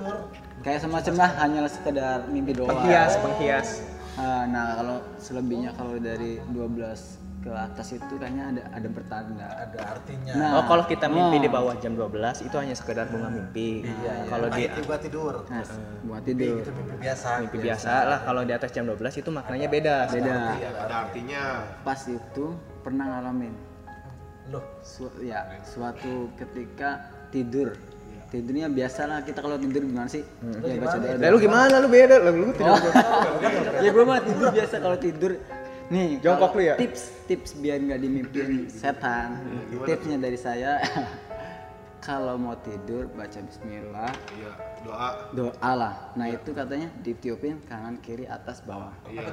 [SPEAKER 6] kayak semacam lah hanya sekedar mimpi doang
[SPEAKER 5] Penghias, penghias.
[SPEAKER 6] Ah, nah kalau selebihnya kalau dari 12 ke atas itu kayaknya ada ada pertanda ada artinya nah,
[SPEAKER 5] Oh, kalau kita mimpi di bawah jam 12 itu hanya sekedar bunga
[SPEAKER 6] Iya,
[SPEAKER 5] mimpi. Kalau di
[SPEAKER 8] Tiba tidur.
[SPEAKER 6] nah, bunga tidur
[SPEAKER 8] Itu mimpi biasa.
[SPEAKER 5] mimpi biasa lah, kalau di atas jam 12 itu maknanya beda.
[SPEAKER 6] beda
[SPEAKER 2] Iya, Ada artinya.
[SPEAKER 6] pas itu pernah ngalamin
[SPEAKER 8] Loh,
[SPEAKER 6] Su- ya suatu ketika tidur tidurnya biasa lah kita kalau tidur gimana sih ya baca doa
[SPEAKER 5] Lah Hmm. lu gimana? Lu beda. Lah lu
[SPEAKER 6] Oh.
[SPEAKER 5] tidak.
[SPEAKER 6] ya gue mah tidur biasa kalau tidur nih
[SPEAKER 5] Jongkok
[SPEAKER 6] kalau
[SPEAKER 5] lu ya?
[SPEAKER 6] tips tips biar nggak dimimpiin setan tipsnya dari saya kalau mau tidur baca Bismillah
[SPEAKER 2] Iya, doa.
[SPEAKER 6] doa lah nah itu katanya ditiupin kanan kiri atas bawah
[SPEAKER 2] Iya.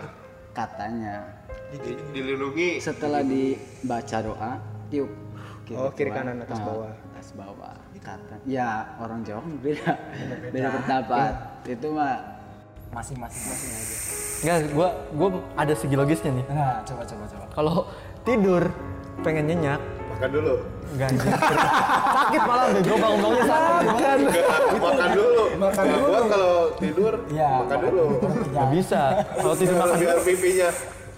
[SPEAKER 6] katanya
[SPEAKER 2] Di- Dilindungi.
[SPEAKER 6] setelah dibaca doa tiup
[SPEAKER 5] Oh, kiri
[SPEAKER 6] depan,
[SPEAKER 5] kanan, atas
[SPEAKER 6] ah,
[SPEAKER 5] bawah.
[SPEAKER 6] atas bawah kata ya orang Jawa kan beda beda pendapat
[SPEAKER 5] Iya.
[SPEAKER 6] itu mah
[SPEAKER 8] masing-masing masing aja.
[SPEAKER 3] Enggak, gua gua ada segi logisnya nih.
[SPEAKER 8] Nah, coba coba coba.
[SPEAKER 3] Kalau tidur pengen nyenyak,
[SPEAKER 2] Makan dulu.
[SPEAKER 3] enggak anjing. sakit malah bego bangun-bangunnya sakit.
[SPEAKER 2] Makan dulu. Makan dulu. kalau tidur
[SPEAKER 8] Iya,
[SPEAKER 2] makan dulu.
[SPEAKER 3] Nggak bisa. Kalau tidur
[SPEAKER 2] Kalau
[SPEAKER 3] makan
[SPEAKER 2] biar pipinya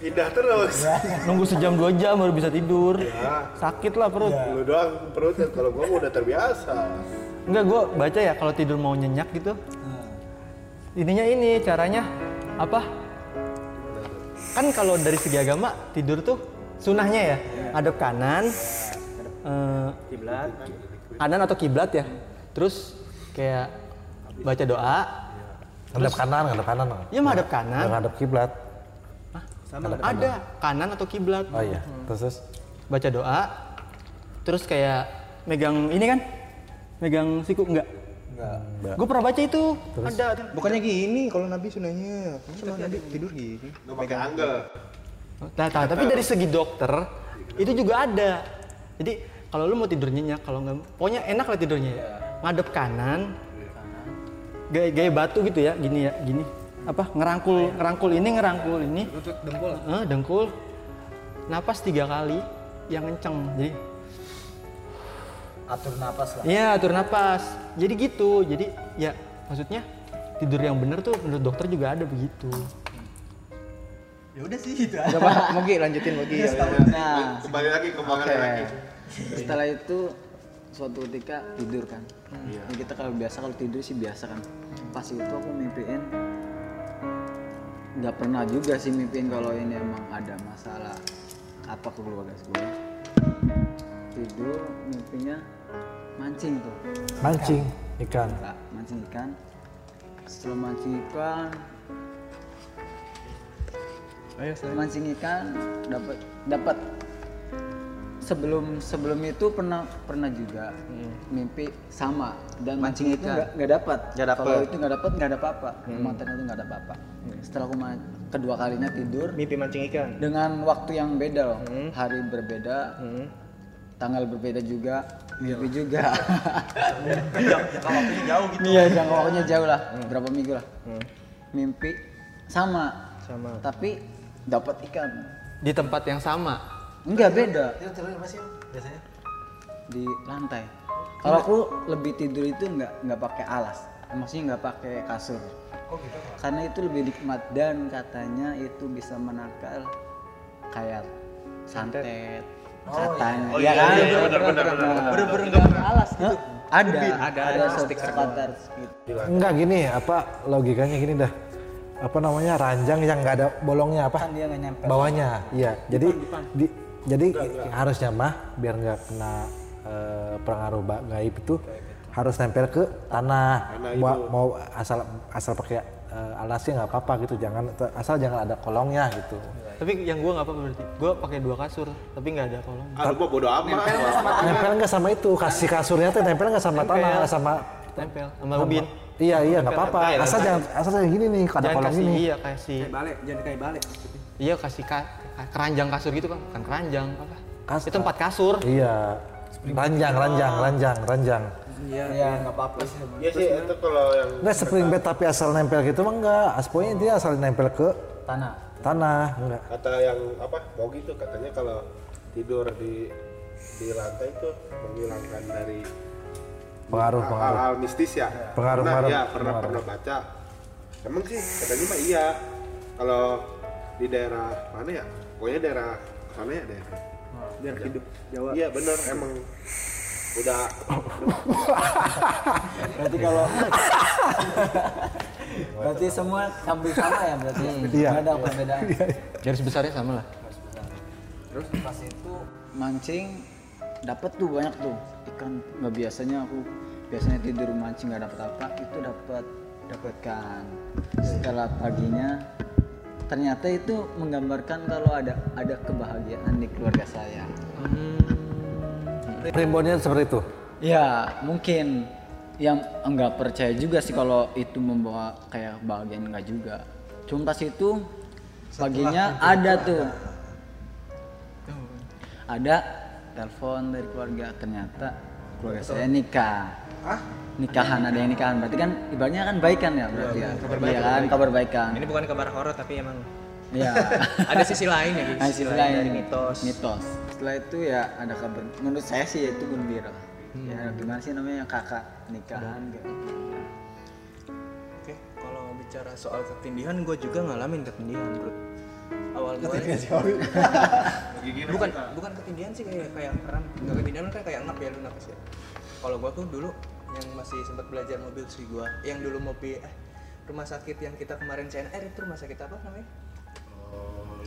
[SPEAKER 2] indah terus.
[SPEAKER 3] nunggu sejam dua jam baru bisa tidur. Sakit lah perut.
[SPEAKER 8] Iya.
[SPEAKER 2] Lu doang perutnya kalau gua mah udah terbiasa.
[SPEAKER 3] Enggak, gue baca ya kalau tidur mau nyenyak gitu. Ininya ini caranya apa? Kan kalau dari segi agama tidur tuh sunahnya ya, hadap kanan, kiblat, kanan atau kiblat ya. Terus kayak baca doa,
[SPEAKER 1] Ngadep kanan, ngadep kanan.
[SPEAKER 3] ya mah hadap kanan.
[SPEAKER 1] Ngadep kiblat.
[SPEAKER 3] ada kanan atau kiblat.
[SPEAKER 1] Oh iya. Terus terus
[SPEAKER 3] Baca doa, terus kayak megang ini kan, megang siku enggak?
[SPEAKER 1] Iya.
[SPEAKER 3] Enggak. Gue pernah baca itu, ada. ada.
[SPEAKER 5] Bukannya gini kalau Nabi sunahnya. Cuma Nabi tidur gini.
[SPEAKER 2] Enggak pakai angel.
[SPEAKER 3] Nah, nah, tapi dari segi dokter, itu juga ada jadi kalau lu mau tidur nyenyak kalau nggak pokoknya enak lah tidurnya ya ngadep kanan gaya, gaya batu gitu ya gini ya gini apa ngerangkul ngerangkul ini ngerangkul ini dengkul dengkul napas tiga kali yang kenceng jadi
[SPEAKER 8] atur napas lah
[SPEAKER 3] Iya atur napas. Jadi gitu. Jadi ya maksudnya tidur yang bener tuh menurut dokter juga ada begitu.
[SPEAKER 8] ya udah sih gitu aja
[SPEAKER 5] Coba Mogi lanjutin Mogi. Ya,
[SPEAKER 6] Nah,
[SPEAKER 2] Kembali lagi ke makan
[SPEAKER 6] Oke.
[SPEAKER 2] lagi.
[SPEAKER 6] Setelah itu suatu ketika tidur kan.
[SPEAKER 5] Iya.
[SPEAKER 6] Ya, kita kalau biasa kalau tidur sih biasa kan. Pas itu aku mimpiin nggak pernah juga sih mimpiin kalau ini emang ada masalah apa ke keluarga gue. Tidur mimpinya mancing tuh.
[SPEAKER 1] mancing ikan
[SPEAKER 6] Kak, kan? mancing ikan. Setelah mancing ikan
[SPEAKER 4] Oh, iya,
[SPEAKER 5] Ayo
[SPEAKER 6] mancing ikan dapat dapat sebelum sebelum itu pernah pernah juga
[SPEAKER 4] Hmm.
[SPEAKER 6] mimpi sama dan mancing itu nggak nggak dapat
[SPEAKER 4] Nggak dapat. Hmm.
[SPEAKER 6] kalau itu nggak dapat nggak ada apa-apa mantan itu nggak ada apa-apa setelah aku ma- kedua kalinya tidur
[SPEAKER 5] Mimpi mancing ikan.
[SPEAKER 6] dengan waktu yang beda loh
[SPEAKER 8] Hmm.
[SPEAKER 6] hari berbeda tanggal berbeda juga mimpi
[SPEAKER 8] Iya.
[SPEAKER 6] juga
[SPEAKER 8] waktunya jauh gitu Hmm.
[SPEAKER 6] iya jangka waktunya jauh lah berapa minggu lah mimpi sama
[SPEAKER 5] Sama.
[SPEAKER 6] tapi dapat ikan
[SPEAKER 3] Di tempat yang sama.
[SPEAKER 6] Enggak beda
[SPEAKER 8] itu tidur di mana sih Om? biasanya
[SPEAKER 6] di lantai. Kalau aku lebih tidur itu nggak nggak pakai alas, maksudnya nggak pakai kasur.
[SPEAKER 2] Oh, gitu,
[SPEAKER 6] Karena itu lebih nikmat dan katanya itu bisa menangkal kayak santet, katanya. kan?
[SPEAKER 2] Oh, iya, iya, iya, benar, benar, benar.
[SPEAKER 6] Bener-bener alas gitu. Ada, ada, ada sekitar gitu.
[SPEAKER 1] enggak gini apa logikanya gini dah apa namanya ranjang yang nggak ada bolongnya apa
[SPEAKER 8] kan dia nggak nyampe
[SPEAKER 1] bawahnya iya jadi di- jadi harusnya mah biar nggak kena eh, pengaruh ba- gaib itu harus nempel ke tanah mau, mau asal asal pakai eh, alasnya nggak apa-apa gitu jangan asal jangan ada kolongnya gitu
[SPEAKER 3] Tapi yang gua nggak apa berarti. Gua pakai dua kasur tapi nggak ada kolong.
[SPEAKER 2] Aduh, gua bodo amat.
[SPEAKER 1] nempel nggak sama itu kasih kasurnya tuh nempel nggak sama tanah sama
[SPEAKER 3] Tempel sama ubin.
[SPEAKER 1] iya iya nggak apa-apa asal jangan asal jangan gini nih ada
[SPEAKER 3] Jangan
[SPEAKER 1] kolong
[SPEAKER 3] kasih
[SPEAKER 1] ini
[SPEAKER 3] iya kasih
[SPEAKER 5] Balik, jangan kayak balik.
[SPEAKER 3] iya kasih ka- ka- keranjang kasur gitu kan. Bukan keranjang apa?
[SPEAKER 1] Kas-
[SPEAKER 3] Itu tempat kasur.
[SPEAKER 1] iya ranjang ranjang ranjang ranjang
[SPEAKER 8] iya nggak apa-apa sih
[SPEAKER 2] Iya sih, itu kalau yang
[SPEAKER 1] Nggak spring bed tapi asal nempel gitu mah enggak. Asponya dia asal nempel ke
[SPEAKER 8] tanah
[SPEAKER 1] tanah, enggak.
[SPEAKER 2] kata yang apa mau gitu katanya kalau tidur di di lantai itu menghilangkan dari
[SPEAKER 1] Pengaruh pengaruh.
[SPEAKER 2] hal-hal mistis ya
[SPEAKER 1] Pengaruh,
[SPEAKER 2] pernah
[SPEAKER 1] pengaruh.
[SPEAKER 2] ya pernah pernah baca emang sih katanya mah iya kalau di daerah mana ya pokoknya daerah sana ya daerah daerah hidup Jawa iya benar emang udah
[SPEAKER 8] berarti kalau berarti semua sambil sama ya berarti
[SPEAKER 1] Iya.
[SPEAKER 8] nggak ada perbedaan
[SPEAKER 3] Garis besarnya sama lah.
[SPEAKER 8] terus pas itu
[SPEAKER 6] mancing dapat tuh banyak tuh ikan nggak biasanya aku biasanya tidur mancing nggak dapat apa itu dapat dapatkan setelah paginya ternyata itu menggambarkan kalau ada ada kebahagiaan di keluarga saya
[SPEAKER 1] Primbonnya Iya, seperti itu.
[SPEAKER 6] ya mungkin yang nggak percaya juga sih kalau itu membawa kayak kebahagiaan nggak juga cuma pas itu paginya ada tuh ada telepon dari keluarga ternyata keluarga saya nikah nikahan ada yang nikahan berarti kan ibaratnya kan baikan ya berarti ya kabar kan kabar baikan
[SPEAKER 5] Ini bukan kabar horor tapi emang
[SPEAKER 6] ya
[SPEAKER 5] ada sisi lain ya, guys.
[SPEAKER 6] hasil lain
[SPEAKER 5] dari mitos.
[SPEAKER 6] Nah, mitos setelah itu ya ada kabar menurut saya sih itu gembira ya gimana sih namanya kakak nikahan kayak gitu.
[SPEAKER 5] Oke, kalau bicara soal ketindihan, gue juga ngalamin ketindihan, bro. Awal gue bukan bukan ketindihan sih kayak kayak keren. Gak ketindihan kan kayak ngap ya lu nafas ya. Kalau gue tuh dulu yang masih sempat belajar mobil sih gue, yang dulu mobil eh rumah sakit yang kita kemarin CNR itu rumah sakit apa namanya?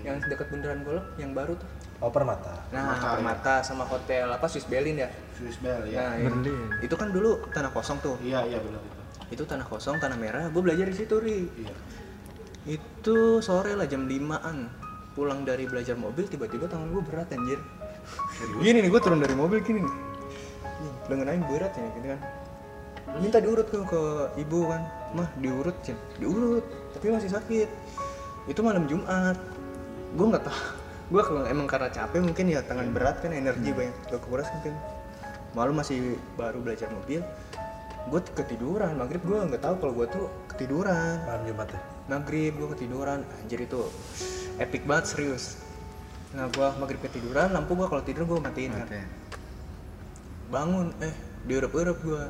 [SPEAKER 5] yang dekat bundaran Golok yang baru tuh.
[SPEAKER 1] Oh, permata.
[SPEAKER 5] Nah, Permata sama hotel apa Swiss Berlin ya?
[SPEAKER 2] Swiss Bell
[SPEAKER 5] Nah, itu, itu kan dulu tanah kosong tuh.
[SPEAKER 2] iya iya benar itu
[SPEAKER 5] Itu tanah kosong, tanah merah. Gue belajar di situ, Ri. Itu sore lah jam 5-an. Pulang dari belajar mobil tiba-tiba tangan gue berat anjir. gini nih gue turun dari mobil gini nih. Nih, Lengan aing berat ya gitu kan. Minta diurut ke, ke ibu kan. Mah diurut, Cin. Diurut. Tapi masih sakit. Itu malam Jumat. Gue nggak tahu. gue kalau emang karena capek mungkin ya tangan berat kan energi banyak gak kekuras mungkin malu masih baru belajar mobil gue ketiduran maghrib gue nggak tahu kalau gue tuh ketiduran
[SPEAKER 1] malam Jumat ya
[SPEAKER 5] maghrib gue ketiduran anjir itu epic banget serius nah gue maghrib ketiduran lampu gue kalau tidur gue matiin kan bangun eh diurep-urep gue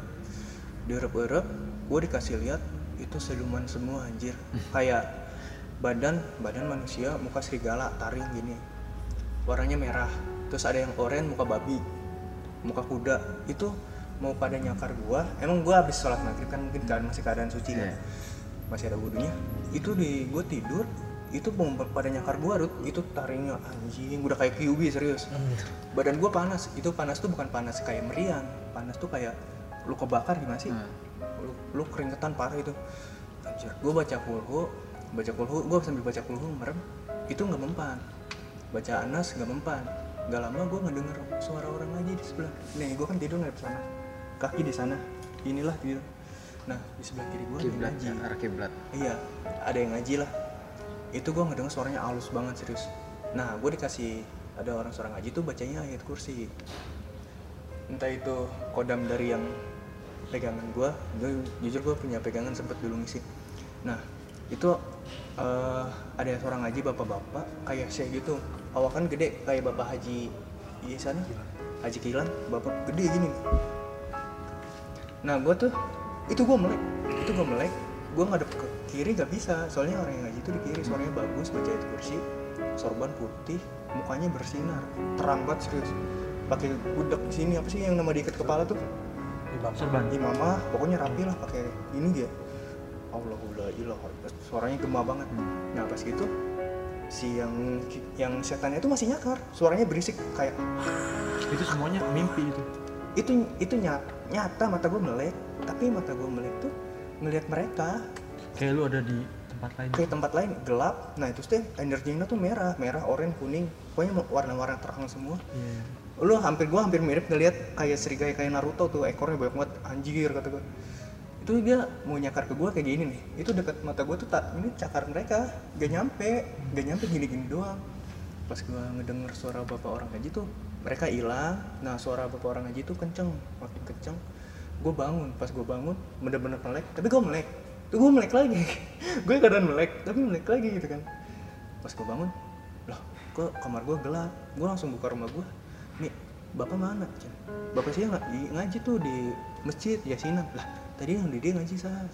[SPEAKER 5] diurep-urep gue dikasih lihat itu siluman semua anjir kayak badan badan manusia muka serigala taring gini warnanya merah terus ada yang oranye muka babi muka kuda itu mau pada nyakar gua emang gua habis sholat maghrib kan mungkin keadaan masih keadaan suci kan masih ada wudhunya itu di gua tidur itu mau pada nyakar gua Rut. itu taringnya anjing udah kayak QB serius badan gua panas itu panas tuh bukan panas kayak meriang panas tuh kayak lu kebakar gimana sih lu, lu keringetan parah itu anjir gue baca kulhu baca kulhu gue sambil baca kulhu merem itu nggak mempan baca anas nggak mempan nggak lama gue ngedenger suara orang lagi di sebelah nih gue kan tidur nggak di sana kaki di sana inilah tidur nah di sebelah kiri gue ada
[SPEAKER 6] kiblat
[SPEAKER 5] yang ngaji
[SPEAKER 6] ya, arah kiblat
[SPEAKER 5] iya ada yang ngaji lah itu gue ngedenger suaranya halus banget serius nah gue dikasih ada orang suara ngaji tuh bacanya ayat kursi entah itu kodam dari yang pegangan gua gue jujur gua punya pegangan sempet dulu ngisi nah itu eh, ada seorang ngaji bapak-bapak kayak saya gitu awakan gede kayak bapak haji iya sana haji kilan bapak gede gini nah gua tuh itu gua melek itu gua melek gua ngadep ke kiri gak bisa soalnya orang yang ngaji itu di kiri suaranya bagus baca ayat kursi sorban putih mukanya bersinar terang banget serius pakai budak di sini apa sih yang nama diikat kepala tuh
[SPEAKER 3] serban
[SPEAKER 5] imamah pokoknya rapi lah pakai ini dia Allahullah ilah suaranya gema banget nah pas gitu si yang yang setannya itu masih nyakar suaranya berisik kayak
[SPEAKER 3] itu semuanya mimpi itu
[SPEAKER 5] itu itu nyata, nyata mata gue melek tapi mata gue melek tuh ngelihat mereka
[SPEAKER 3] kayak lu ada di tempat lain
[SPEAKER 5] ke tempat lain gelap nah itu tuh energinya tuh merah merah oranye kuning pokoknya warna-warna terang semua
[SPEAKER 3] Iya.
[SPEAKER 5] lu hampir gua hampir mirip ngelihat kayak serigala kayak Naruto tuh ekornya banyak banget anjir kata gua itu dia mau nyakar ke gua kayak gini nih itu dekat mata gua tuh tak ini cakar mereka gak nyampe gak nyampe gini gini doang pas gua ngedenger suara bapak orang haji tuh mereka hilang nah suara bapak orang haji tuh kenceng makin kenceng gua bangun pas gua bangun bener-bener melek tapi gua melek tuh gua melek lagi gue keadaan melek tapi melek lagi gitu kan pas gua bangun loh kok kamar gua gelap gua langsung buka rumah gua nih bapak mana Cen? bapak saya nggak di- ngaji tuh di masjid yasinan lah tadi yang di dia ngaji saya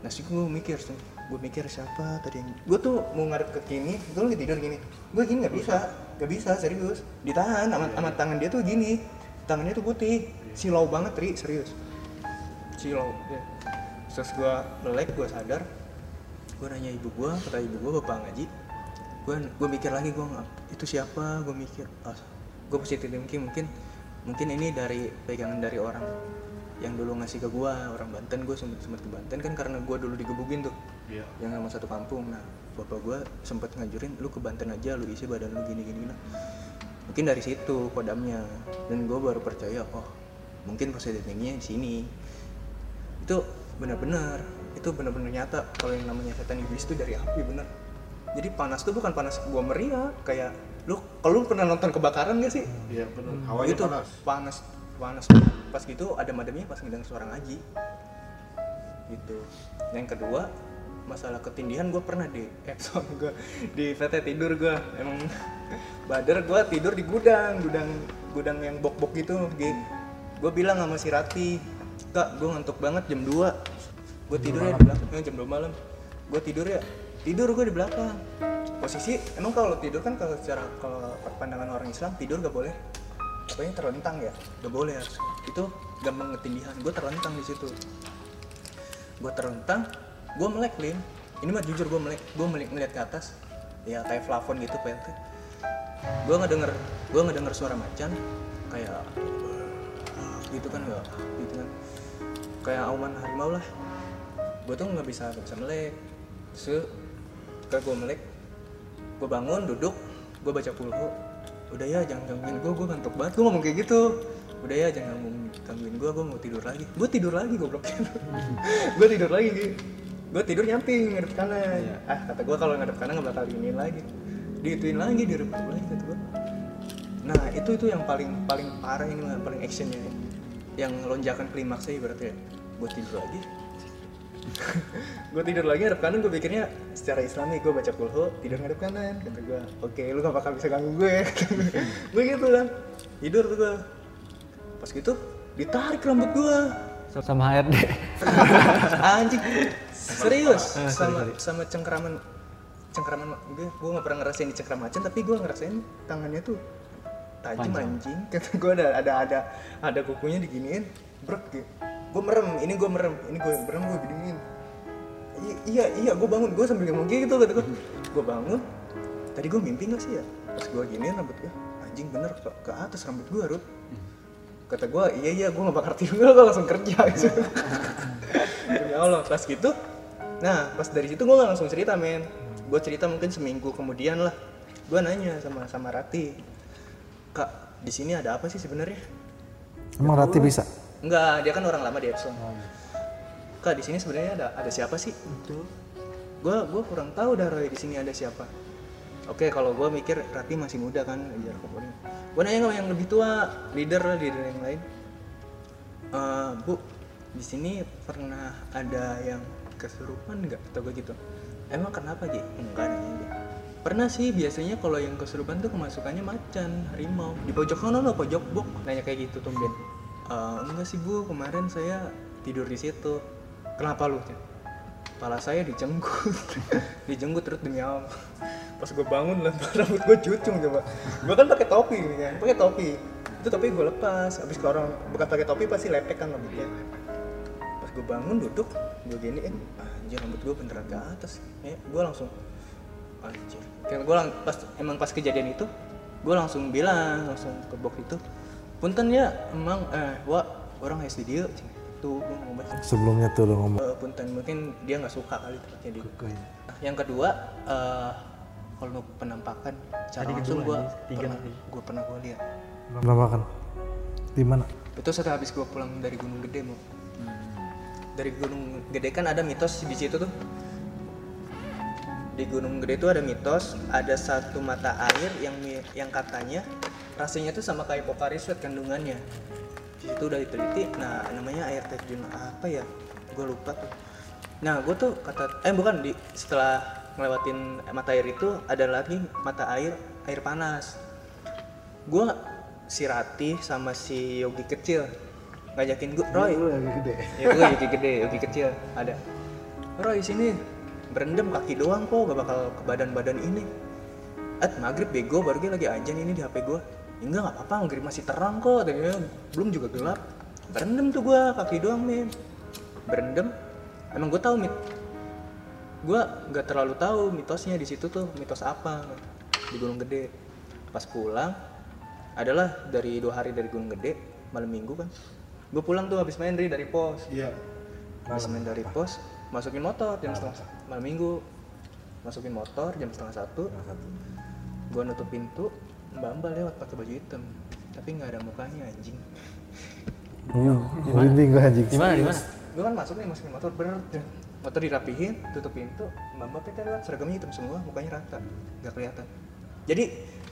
[SPEAKER 5] nasi gue Nah, mikir gue mikir siapa tadi yang gue tuh mau ngadep ke kini gue lagi tidur gini gue gini nggak bisa nggak bisa serius ditahan amat amat tangan dia tuh gini tangannya tuh putih silau banget ri serius Iya. silau ya. terus gue melek gue sadar gue nanya ibu gue kata ibu gue bapak ngaji gue gue mikir lagi gue nggak itu siapa gue mikir ah gue positif thinking mungkin mungkin ini dari pegangan dari orang yang dulu ngasih ke gue orang Banten gue sempet sempet ke Banten kan karena gue dulu digebukin tuh
[SPEAKER 2] Iya.
[SPEAKER 5] yang sama satu kampung nah bapak gue sempet ngajurin lu ke Banten aja lu isi badan lu gini gini nah mungkin dari situ kodamnya dan gue baru percaya oh mungkin positif thinkingnya di sini itu benar-benar itu benar-benar nyata kalau yang namanya setan iblis itu dari api bener jadi panas tuh bukan panas gua meriah kayak lu kalau lu pernah nonton kebakaran gak sih
[SPEAKER 2] Iya benar. Hawanya
[SPEAKER 5] itu
[SPEAKER 2] panas.
[SPEAKER 5] panas panas pas gitu ada madamnya pas ngedengar suara ngaji gitu yang kedua masalah ketindihan gue pernah di Epson gue di PT tidur gue emang bader gue tidur di gudang gudang gudang yang bok bok gitu gue bilang sama si Rati kak gue ngantuk banget jam 2 gue tidur ya di belakang eh, jam 2 malam gue tidur ya tidur gue di belakang posisi emang kalau tidur kan kalau secara kalau pandangan orang Islam tidur gak boleh pokoknya terlentang ya gak boleh harus itu gampang ketindihan gue terlentang di situ gue terlentang gue melek lin ini mah jujur gue melek gue melek ngeliat ke atas ya kayak plafon gitu PLT gue ngedenger gue ngedenger suara macan kayak gitu kan gak gitu kan kayak auman harimau lah gue tuh nggak bisa nggak bisa melek terus kayak gue melek gue bangun duduk gue baca pulhu udah ya jangan gangguin gue gue ngantuk banget gue ngomong kayak gitu udah ya jangan gangguin gangguin gue gue mau tidur lagi gue tidur lagi gobloknya gue tidur lagi gue tidur nyamping ngadep kanan ah kata gue kalau ngadep kanan nggak bakal ini lagi digituin lagi direbut lagi kata gua. nah itu itu yang paling paling parah ini yang paling actionnya yang lonjakan klimaksnya ibaratnya gue ya. tidur lagi gue tidur lagi ngadep kanan gue pikirnya secara islami gue baca kulhu tidur ngadep kanan kata gue oke lu gak bakal bisa ganggu gue gue gitu kan tidur tuh gue pas gitu ditarik rambut gue
[SPEAKER 3] sama HRD
[SPEAKER 5] anjing serius sama sama cengkeraman cengkeraman gue gue gak pernah ngerasain di cengkeraman macan tapi gue ngerasain tangannya tuh tajam anjing kata gue ada ada ada ada kukunya diginiin brek gitu gue merem ini gue merem ini gue merem gue diginiin I- iya iya gue bangun gue sambil ngomong gitu kata gue gue bangun tadi gue mimpi gak sih ya pas gue giniin rambut gue anjing bener ke, ke atas rambut gue Rut kata gue iya iya gue gak bakar tidur gue langsung kerja gitu demi Allah pas gitu nah pas dari situ gue gak langsung cerita men gue cerita mungkin seminggu kemudian lah gue nanya sama sama Rati kak di sini ada apa sih sebenarnya
[SPEAKER 1] Emang Rati bisa?
[SPEAKER 5] Enggak, dia kan orang lama di Epson. Kak, di sini sebenarnya ada ada siapa sih? Betul. Gua gua kurang tahu dah Roy di sini ada siapa. Oke, kalau gua mikir Rati masih muda kan, ajar komponen. Gua nanya sama yang lebih tua, leader lah, leader yang lain. Eh, Bu, di sini pernah ada yang kesurupan nggak atau gua gitu? Emang kenapa, Ji? Enggak nanya dia. Pernah sih biasanya kalau yang kesurupan tuh kemasukannya macan, harimau. Di pojok sana loh, pojok bok. Nanya kayak gitu tumben. Eh, enggak sih bu, kemarin saya tidur di situ. Kenapa lu? Cen? Kepala saya dijenggut, dijenggut terus demi Allah. Pas gue bangun lah, rambut gue cucung coba. Gue kan pakai topi gitu kan, pakai topi. Itu topi gue lepas. Abis ke orang bukan pakai topi pasti lepek kan rambutnya. Pas gue bangun duduk, gue giniin, anjir rambut gue beneran ke atas. Eh, gue langsung anjir kan gue lang- pas emang pas kejadian itu gue langsung bilang langsung ke box itu punten ya emang eh wa orang SD dia tuh gue ngomong bahasa
[SPEAKER 1] Sebelumnya tuh lo ngomong
[SPEAKER 5] Eh, punten mungkin dia nggak suka kali tempatnya di Nah, yang kedua eh kalau penampakan cara langsung gue pernah gue pernah gue lihat
[SPEAKER 1] penampakan kan? di mana?
[SPEAKER 5] itu setelah habis gue pulang dari Gunung Gede mau dari Gunung Gede kan ada mitos di situ tuh di Gunung Gede itu ada mitos ada satu mata air yang mi- yang katanya rasanya tuh sama kayak Pocari Sweat kandungannya di situ udah diteliti nah namanya air terjun apa ya gue lupa tuh nah gue tuh kata eh bukan di setelah ngelewatin mata air itu ada lagi mata air air panas gue si Ratih sama si Yogi kecil ngajakin gue Roy Yogi gede ya gue Yogi gede Yogi kecil ada Roy sini berendam kaki doang kok gak bakal ke badan-badan ini at maghrib bego baru dia lagi ajan ini di HP gue Ya enggak nggak apa-apa maghrib masih terang kok katanya. belum juga gelap berendam tuh gue kaki doang men berendam emang gue tahu mit gue nggak terlalu tahu mitosnya di situ tuh mitos apa di Gunung Gede pas pulang adalah dari dua hari dari Gunung Gede malam minggu kan gue pulang tuh habis main Ri, dari pos
[SPEAKER 2] Iya.
[SPEAKER 5] habis main dari pos masukin motor jam setengah malam minggu masukin motor jam setengah satu gue nutup pintu mbak mbak lewat pakai baju hitam tapi nggak ada mukanya anjing
[SPEAKER 1] Merinding gue Hmm. anjing.
[SPEAKER 3] di mana di mana
[SPEAKER 5] gue kan masuk nih masukin motor bener deh. motor dirapihin tutup pintu mbak mbak kita lihat seragamnya hitam semua mukanya rata nggak kelihatan jadi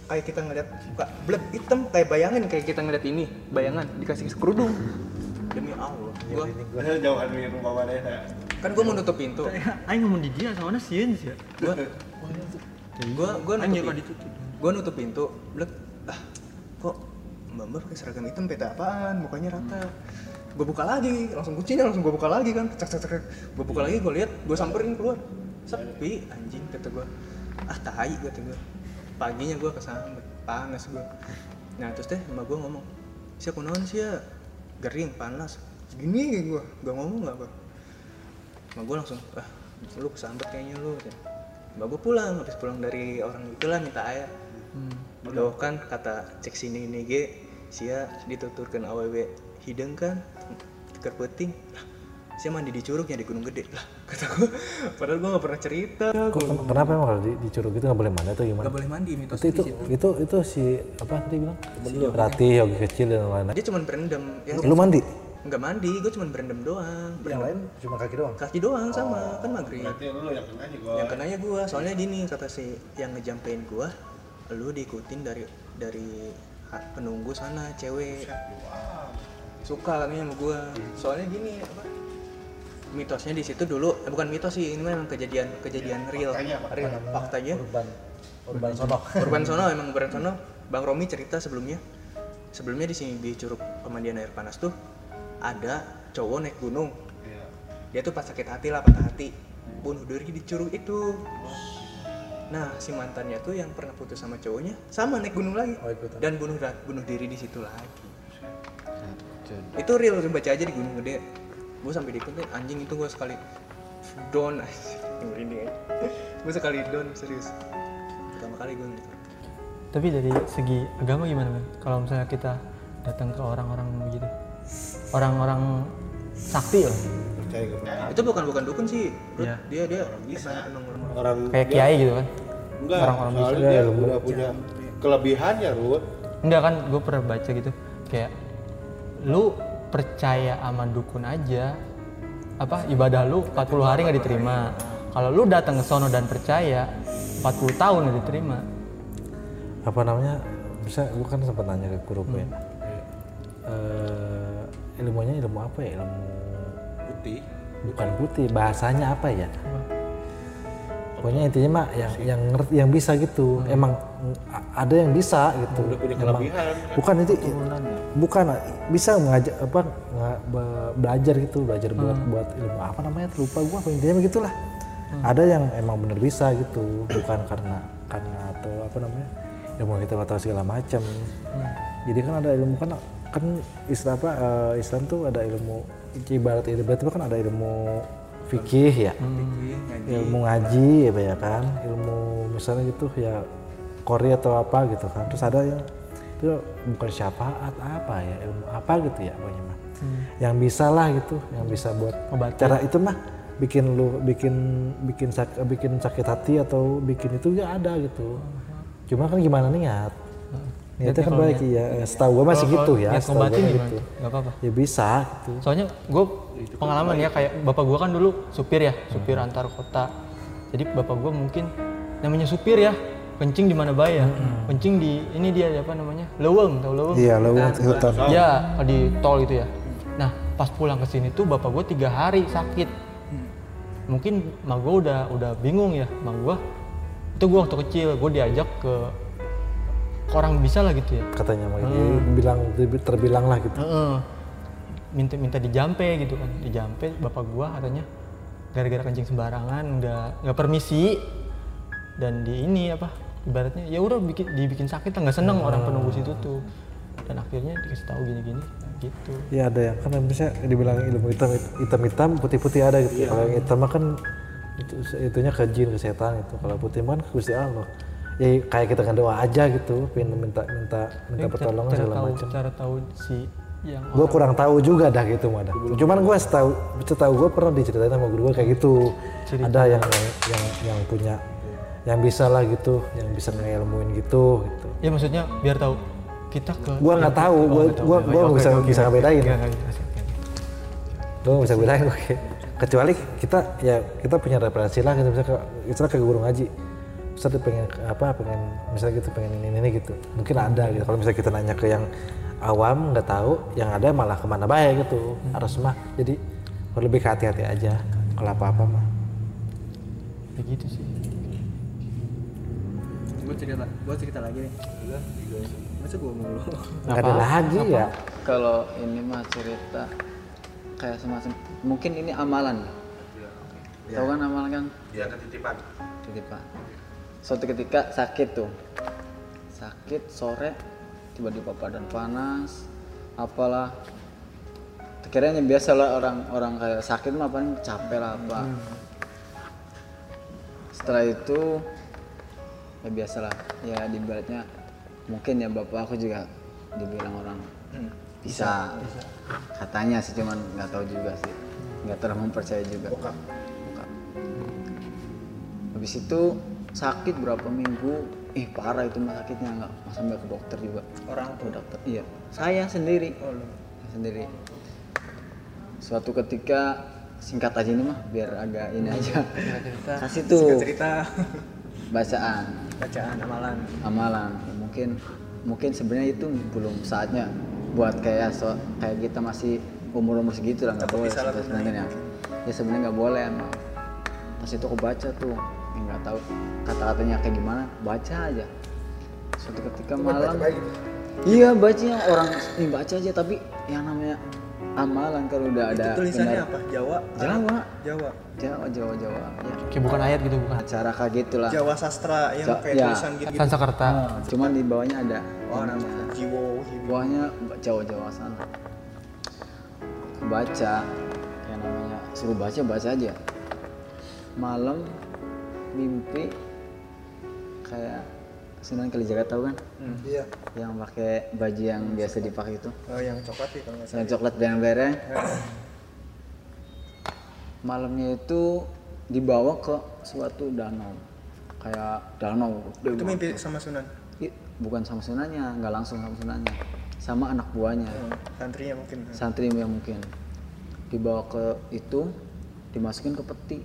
[SPEAKER 5] kayak kita ngeliat muka bleb hitam kayak bayangin kayak kita ngeliat ini bayangan dikasih kerudung demi allah gua,
[SPEAKER 2] Gue jauhan dari rumah mana ya.
[SPEAKER 5] kan gue mau nutup pintu
[SPEAKER 3] Aing ngomong di dia sama sieun sih. ya.
[SPEAKER 5] gue gue gue
[SPEAKER 3] Anjir,
[SPEAKER 5] nutup
[SPEAKER 3] kalau
[SPEAKER 5] pintu gue nutup pintu blek ah kok mbak mbak pakai seragam hitam peta apaan mukanya rata gue buka lagi langsung kuncinya langsung gue buka lagi kan cek cek cek gue buka lagi gue lihat gue samperin keluar sepi anjing kata gue ah tai kata gue paginya gue kesambet panas gue nah terus deh mbak gue ngomong siapa naon sih ya gering panas gini gue gak ngomong gak apa Mbak gue langsung, ah lu kesambet kayaknya lu. katanya. Mbak gue pulang, habis pulang dari orang itu lah minta air. Lo kan kata cek sini ini ge, sia dituturkan aww hidung kan, tikar peting. Lah, sia mandi di curug ya di Gunung Gede lah. Kata gue, padahal gue gak pernah cerita. Gue
[SPEAKER 1] Ken- Kenapa emang kalau di, di curug itu nggak boleh mandi atau gimana?
[SPEAKER 5] gak boleh mandi mitos
[SPEAKER 1] Itu itu, itu itu si apa tadi bilang? Rati, Yogi kecil dan lain-lain.
[SPEAKER 5] Dia cuma berendam. Ya,
[SPEAKER 1] Lu mandi?
[SPEAKER 5] nggak mandi gue cuma berendam doang
[SPEAKER 1] Yang lain cuma kaki doang.
[SPEAKER 5] kaki doang sama kan maghrib
[SPEAKER 2] Berarti Iya, lu yang kena juga.
[SPEAKER 5] yang kenanya gua soalnya gini kata si yang ngejampein gua lu diikutin dari dari ha- penunggu sana cewek suka katanya sama gua soalnya gini apa mitosnya di situ dulu eh, bukan mitos sih ini memang kejadian kejadian real real faktanya
[SPEAKER 1] Iya, Urban urban sono.
[SPEAKER 5] Urban Sono emang Urban Sono Bang Romi cerita sebelumnya sebelumnya di sini di Curug Pemandian Air Panas tuh ada cowok naik gunung dia tuh pas sakit hati lah patah hati bunuh diri di curug itu nah si mantannya tuh yang pernah putus sama cowoknya sama naik gunung lagi
[SPEAKER 8] ah.
[SPEAKER 1] Oh, ikutan.
[SPEAKER 5] dan bunuh ra- bunuh diri di situ lagi itu real lu baca aja di gunung gede gue sampai diikutin anjing itu gue sekali down anjing merinding aja gue sekali down serius pertama kali gue gitu
[SPEAKER 3] Tapi dari segi agama gimana men? Kalau misalnya kita datang ke orang-orang begitu, orang-orang sakti loh,
[SPEAKER 2] Percaya gak percaya?
[SPEAKER 5] itu bukan bukan dukun sih Ruth.
[SPEAKER 3] Iya.
[SPEAKER 5] dia dia bisa nongol
[SPEAKER 2] Orang
[SPEAKER 5] Ya.
[SPEAKER 3] kayak kiai gitu kan?
[SPEAKER 2] enggak.
[SPEAKER 3] orang-orang bisa.
[SPEAKER 2] soalnya dia udah punya kelebihannya, Rut.
[SPEAKER 3] Enggak kan, gue pernah baca gitu, kayak lu percaya sama dukun aja, apa ibadah lu 40 hari nggak diterima. Kalau lu datang ke sono dan percaya, 40 tahun nggak diterima.
[SPEAKER 1] Apa namanya? Bisa gua kan sempat nanya ke Kurup ya. Eh, ilmunya ilmu apa ya? Ilmu
[SPEAKER 2] Putih.
[SPEAKER 1] bukan putih, bahasanya apa ya? Pokoknya intinya mah yang yang ngerti yang bisa gitu. Emang a- ada yang bisa gitu. Emang- bukan itu bukan bisa ngajak apa nga- be- belajar gitu, belajar buat buat ilmu apa namanya lupa gua apa intinya begitulah. Ada yang emang bener bisa gitu, bukan karena karena atau apa namanya ilmu kita atau segala macam. Jadi kan ada ilmu kan kan istilah apa eh, Islam tuh ada ilmu ibarat ibarat itu kan ada ilmu fikih ya ilmu ngaji ya Pak, ya kan ilmu misalnya gitu ya kori atau apa gitu kan terus ada yang itu bukan syafaat apa ya ilmu apa gitu ya pokoknya mah
[SPEAKER 3] Hmm.
[SPEAKER 1] yang bisa lah gitu yang bisa buat
[SPEAKER 3] Obatin.
[SPEAKER 1] cara itu mah bikin lu bikin bikin sak- bikin sakit hati atau bikin itu ya ada gitu
[SPEAKER 3] Hmm.
[SPEAKER 1] cuma kan gimana niat niatnya kan baik ya setahu gua masih
[SPEAKER 3] Kalau-
[SPEAKER 1] gitu
[SPEAKER 3] kalau
[SPEAKER 1] ya
[SPEAKER 3] niat
[SPEAKER 1] setahu gua
[SPEAKER 3] ngobatin
[SPEAKER 1] mah
[SPEAKER 3] gimana?
[SPEAKER 1] gitu
[SPEAKER 3] Nggak apa-apa.
[SPEAKER 1] ya bisa gitu
[SPEAKER 3] Soalnya gue pengalaman ya kayak bapak gue kan dulu supir ya, supir
[SPEAKER 1] Hmm.
[SPEAKER 3] antar kota. Jadi bapak gue mungkin namanya supir ya, kencing di mana bae ya,
[SPEAKER 1] Hmm.
[SPEAKER 3] kencing di ini dia apa namanya, leweng tau leweng?
[SPEAKER 1] iya lo Hilton
[SPEAKER 3] Ya di tol itu ya. Nah pas pulang ke sini tuh bapak gue tiga hari sakit. Mungkin mak gue udah udah bingung ya, mak gue itu gue waktu kecil gue diajak ke, ke orang bisa lah gitu ya.
[SPEAKER 1] katanya mah gitu. bilang terbilang lah gitu
[SPEAKER 3] Heeh. minta minta dijampe gitu kan dijampe bapak gua katanya gara-gara kencing sembarangan nggak nggak permisi dan di ini apa ibaratnya ya udah bikin dibikin sakit lah, nggak seneng orang penunggu situ tuh dan akhirnya dikasih tahu gini-gini gitu
[SPEAKER 1] Ya ada yang kan bisa dibilang ilmu hitam hitam hitam putih putih ada gitu. Kalau yang hitam mah kan itu itunya ke jin ke setan itu. Kalau putih mah kan ke Gusti Allah. Ya kayak kita kan doa aja gitu, pin- minta minta minta
[SPEAKER 3] Ini
[SPEAKER 1] pertolongan
[SPEAKER 3] cara
[SPEAKER 1] segala
[SPEAKER 3] tahu
[SPEAKER 1] macam.
[SPEAKER 3] cara tahu si yang
[SPEAKER 1] Gue kurang tahu juga dah gitu mah dah. Cuman gue setahu setahu gue pernah diceritain sama guru gue kayak gitu. Ada yang yang yang punya yang bisa lah gitu, yang bisa ngeilmuin gitu gitu.
[SPEAKER 3] ya maksudnya biar tahu kita ke Oh,
[SPEAKER 1] Gua nggak tahu, Iya, gua gua gua Iya, Oh, nggak bisa bisa ngebedain. gue bisa bilang oke kecuali kita ya kita punya referensi lah gitu misalnya ke, misalnya ke guru ngaji misalnya dia pengen ke- apa pengen misalnya gitu pengen ini ini gitu mungkin ada gitu kalau misalnya kita nanya ke yang awam nggak tahu yang ada malah kemana baik gitu harus mah jadi lebih ke hati-hati aja kalau apa-apa mah
[SPEAKER 3] begitu Ya gitu sih
[SPEAKER 8] gue cerita gue cerita lagi nih masa gue mulu
[SPEAKER 1] nggak ada lagi ya
[SPEAKER 6] Kalau ini mah cerita kayak semacam mungkin ini amalan. Tahu kan amalan kan?
[SPEAKER 2] Dia Iya, ketitipan.
[SPEAKER 6] Titipan. Suatu ketika sakit tuh. Sakit sore tiba-tiba badan panas apalah kiranya biasa lah orang-orang kayak sakit mah paling capek lah apa setelah itu ya biasalah ya di baratnya mungkin ya bapak aku juga dibilang orang bisa, katanya sih cuman nggak tahu juga sih nggak terlalu mempercaya juga Bokap. habis itu sakit berapa minggu ih parah itu mah sakitnya nggak Mas
[SPEAKER 5] Oh,
[SPEAKER 6] sampai ke dokter juga orang ke dokter iya saya sendiri sendiri suatu ketika singkat aja ini mah biar agak ini aja
[SPEAKER 5] Hmm. cerita.
[SPEAKER 6] kasih
[SPEAKER 5] Singkat
[SPEAKER 6] tuh
[SPEAKER 5] cerita
[SPEAKER 6] bacaan
[SPEAKER 5] bacaan amalan.
[SPEAKER 6] amalan mungkin mungkin sebenarnya itu belum saatnya buat kayak so, kayak kita masih umur umur segitu lah nggak boleh
[SPEAKER 5] disalah
[SPEAKER 6] sebenarnya ya sebenarnya nggak boleh emang pas itu aku baca tuh ya nggak tahu kata katanya kayak gimana baca aja suatu ketika malam iya baca yang orang nih baca aja tapi yang namanya amalan kalau udah ada
[SPEAKER 5] Itu tulisannya
[SPEAKER 6] benar-
[SPEAKER 5] apa? Jawa.
[SPEAKER 6] Jawa
[SPEAKER 5] Jawa.
[SPEAKER 6] Jawa Jawa Jawa ya
[SPEAKER 3] Kayak bukan ayat gitu bukan.
[SPEAKER 6] acara kayak gitulah
[SPEAKER 5] Jawa sastra yang
[SPEAKER 6] Ja-
[SPEAKER 5] kayak
[SPEAKER 6] ya.
[SPEAKER 5] tulisan gitu.
[SPEAKER 3] Sansakerta.
[SPEAKER 6] cuman di bawahnya ada
[SPEAKER 5] Oh, nama
[SPEAKER 6] namanya
[SPEAKER 5] Jiwo, Jiwo.
[SPEAKER 6] buahnya jawa-jawa sana Aku baca yang namanya suruh baca baca aja malam mimpi kayak Sunan Kalijaga tahu kan
[SPEAKER 5] Iya.
[SPEAKER 6] yang pakai baju yang biasa dipakai itu
[SPEAKER 5] Oh, yang coklat ya kalau nggak Iya.
[SPEAKER 6] yang coklat bereng-bereng malamnya itu dibawa ke suatu danau kayak danau gede
[SPEAKER 5] Itu
[SPEAKER 6] banget.
[SPEAKER 5] mimpi sama Sunan.
[SPEAKER 6] Ih, bukan sama sunanya nggak langsung sama sunanya sama anak buahnya
[SPEAKER 5] Santrinya mungkin.
[SPEAKER 6] santri yang mungkin dibawa ke itu dimasukin ke peti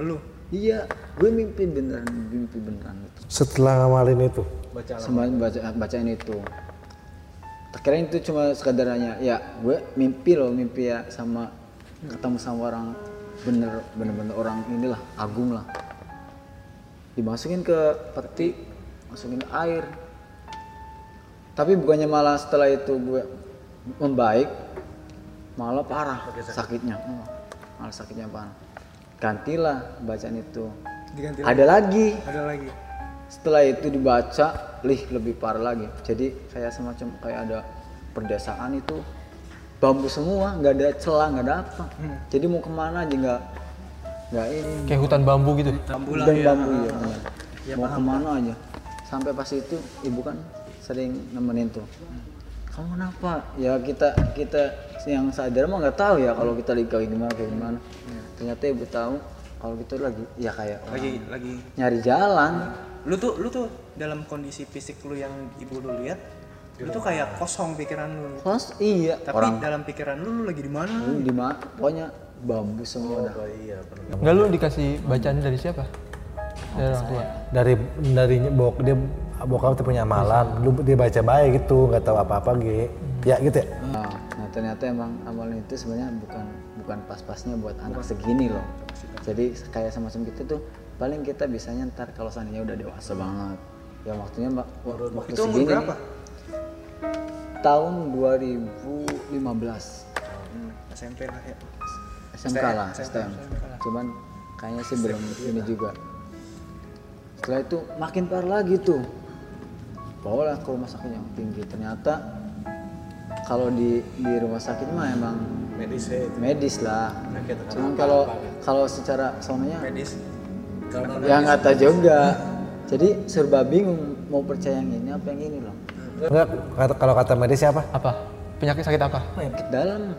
[SPEAKER 5] Lu
[SPEAKER 6] iya gue mimpi beneran mimpi beneran gitu
[SPEAKER 1] Setelah ngamalin itu,
[SPEAKER 6] sembari baca bacaan itu terkira itu cuma sekadarnya ya gue mimpi loh mimpi ya sama ketemu sama orang bener bener bener orang inilah agung lah dimasukin ke peti masukin air tapi bukannya malah setelah itu gue membaik malah parah sakitnya Hmm, malah sakitnya parah gantilah bacaan itu
[SPEAKER 5] diganti
[SPEAKER 6] ada lagi
[SPEAKER 5] ada lagi.
[SPEAKER 6] setelah itu dibaca lih lebih parah lagi jadi kayak semacam kayak ada perdesaan itu bambu semua nggak ada celah nggak ada apa jadi mau kemana aja nggak nggak ini
[SPEAKER 3] Kayak hutan bambu gitu.
[SPEAKER 6] dan bambu ya, benar. mau kemana aja sampai pas itu ibu kan sering nemenin tuh kamu kenapa ya kita kita yang sadar mah nggak tahu ya kalau kita lagi kayak gimana kayak gimana ternyata ibu tahu kalau gitu lagi ya kayak orang
[SPEAKER 5] Lagi lagi.
[SPEAKER 6] nyari jalan
[SPEAKER 5] Lu tuh lu tuh dalam kondisi fisik lu yang ibu lu lihat, lu tuh kayak kosong pikiran lu.
[SPEAKER 6] Terus iya
[SPEAKER 5] Tapi dalam pikiran lu lu lagi di mana?
[SPEAKER 6] Lu di mana? Pokoknya bambu semua dah.
[SPEAKER 3] Enggak lu dikasih bacaan dari siapa? Dari orang
[SPEAKER 1] Iya.
[SPEAKER 3] tua.
[SPEAKER 1] dari dari bok dia bokap tuh punya amalan, lu dia baca baik gitu, nggak tahu apa-apa gitu. Ya gitu ya.
[SPEAKER 6] Nah, nah, ternyata emang amalan itu sebenarnya bukan bukan pas-pasnya buat anak segini loh. Jadi kayak semacam gitu tuh paling kita bisanya ntar kalau seandainya udah dewasa banget. Ya waktunya mbak waktu, waktu
[SPEAKER 5] Itu umur
[SPEAKER 6] segini.
[SPEAKER 5] berapa?
[SPEAKER 6] Tahun 2015
[SPEAKER 5] SMP lah ya.
[SPEAKER 6] SMK lah STM. Cuman kayaknya sih belum ini juga. Setelah itu makin parah lagi tuh. Bawalah ke rumah sakit yang tinggi. Ternyata kalau di di rumah sakit mah emang
[SPEAKER 5] Medisnya itu
[SPEAKER 6] medis lah. Cuman kalau kalau secara sononya
[SPEAKER 5] medis.
[SPEAKER 6] ya nggak tahu juga. Jadi serba bingung mau percaya yang ini apa yang ini loh.
[SPEAKER 1] Enggak, kata- kalau kata medis siapa?
[SPEAKER 3] Apa? Penyakit sakit apa?
[SPEAKER 6] Penyakit dalam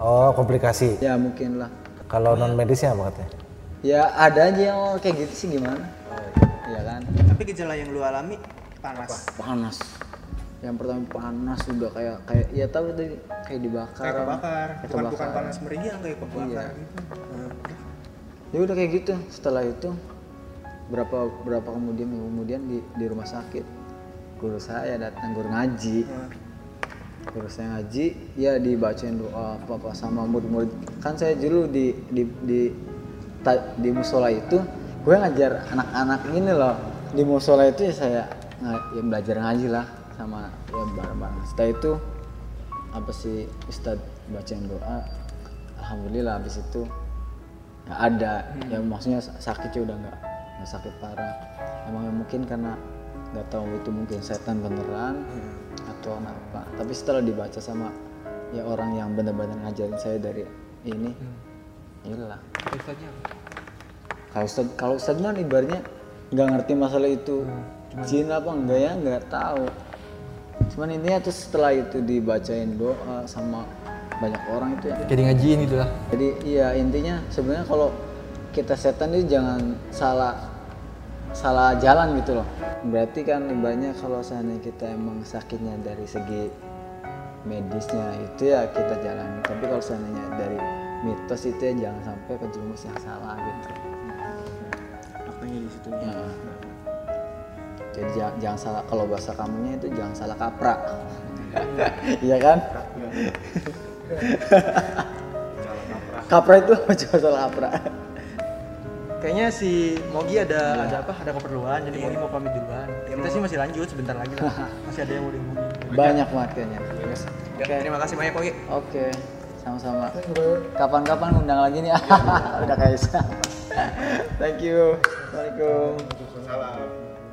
[SPEAKER 1] Oh, komplikasi.
[SPEAKER 6] ya mungkin lah.
[SPEAKER 1] Kalau non medisnya apa katanya?
[SPEAKER 6] Ya ada aja yang kayak gitu sih gimana? Iya kan.
[SPEAKER 5] Tapi gejala yang lu alami panas.
[SPEAKER 6] panas yang pertama panas udah kayak kayak ya tahu tadi kayak dibakar
[SPEAKER 5] Kayak kebakar,
[SPEAKER 6] Kayak
[SPEAKER 5] bukan bukan
[SPEAKER 6] kebakar.
[SPEAKER 5] panas meriang kayak kebakar gitu.
[SPEAKER 6] ya udah kayak gitu setelah itu berapa berapa kemudian minggu kemudian di di rumah sakit guru saya datang guru ngaji guru saya ngaji ya dibacain doa apa apa sama murid-murid kan saya dulu di di di ta- di musola itu gue ngajar anak-anak ini loh di musola itu ya saya nga- ya belajar ngaji lah sama ya bareng-bareng setelah itu apa sih Ustadz bacain doa alhamdulillah habis itu nggak ada ya maksudnya sakitnya udah nggak nggak sakit parah emang mungkin karena nggak tahu itu mungkin setan beneran atau apa tapi setelah dibaca sama ya orang yang bener-bener ngajarin saya dari ini ya inilah kalau ustad kalau ustad mah ibarnya nggak ngerti masalah itu jin apa enggak ya nggak tahu cuman intinya terus setelah itu dibacain doa sama banyak orang itu ya
[SPEAKER 3] Kayak di ngajiin gitu lah.
[SPEAKER 6] jadi iya intinya sebenarnya kalau kita setan itu jangan salah salah jalan gitu loh. Berarti kan ibaratnya kalau seandainya kita emang sakitnya dari segi medisnya itu ya kita jalani tapi kalau seandainya dari mitos itu ya jangan sampai kejerumus yang salah gitu
[SPEAKER 8] faktanya di situ
[SPEAKER 6] ya. jadi jangan, jangan salah kalau bahasa kamunya itu jangan salah kaprah iya kan kapra itu apa coba salah kapra
[SPEAKER 3] Kayaknya si Mogi ada ada apa? Ada keperluan. Jadi Mogi mau pamit duluan. Kita sih masih lanjut sebentar lagi lah. Masih ada yang mau diomongin.
[SPEAKER 6] banyak banget kayaknya
[SPEAKER 5] Ya, Terima kasih banyak Ogi.
[SPEAKER 6] Oke, sama-sama. Kapan-kapan ngundang lagi nih. Udah kayak Thank you. Assalamualaikum.
[SPEAKER 2] Salam.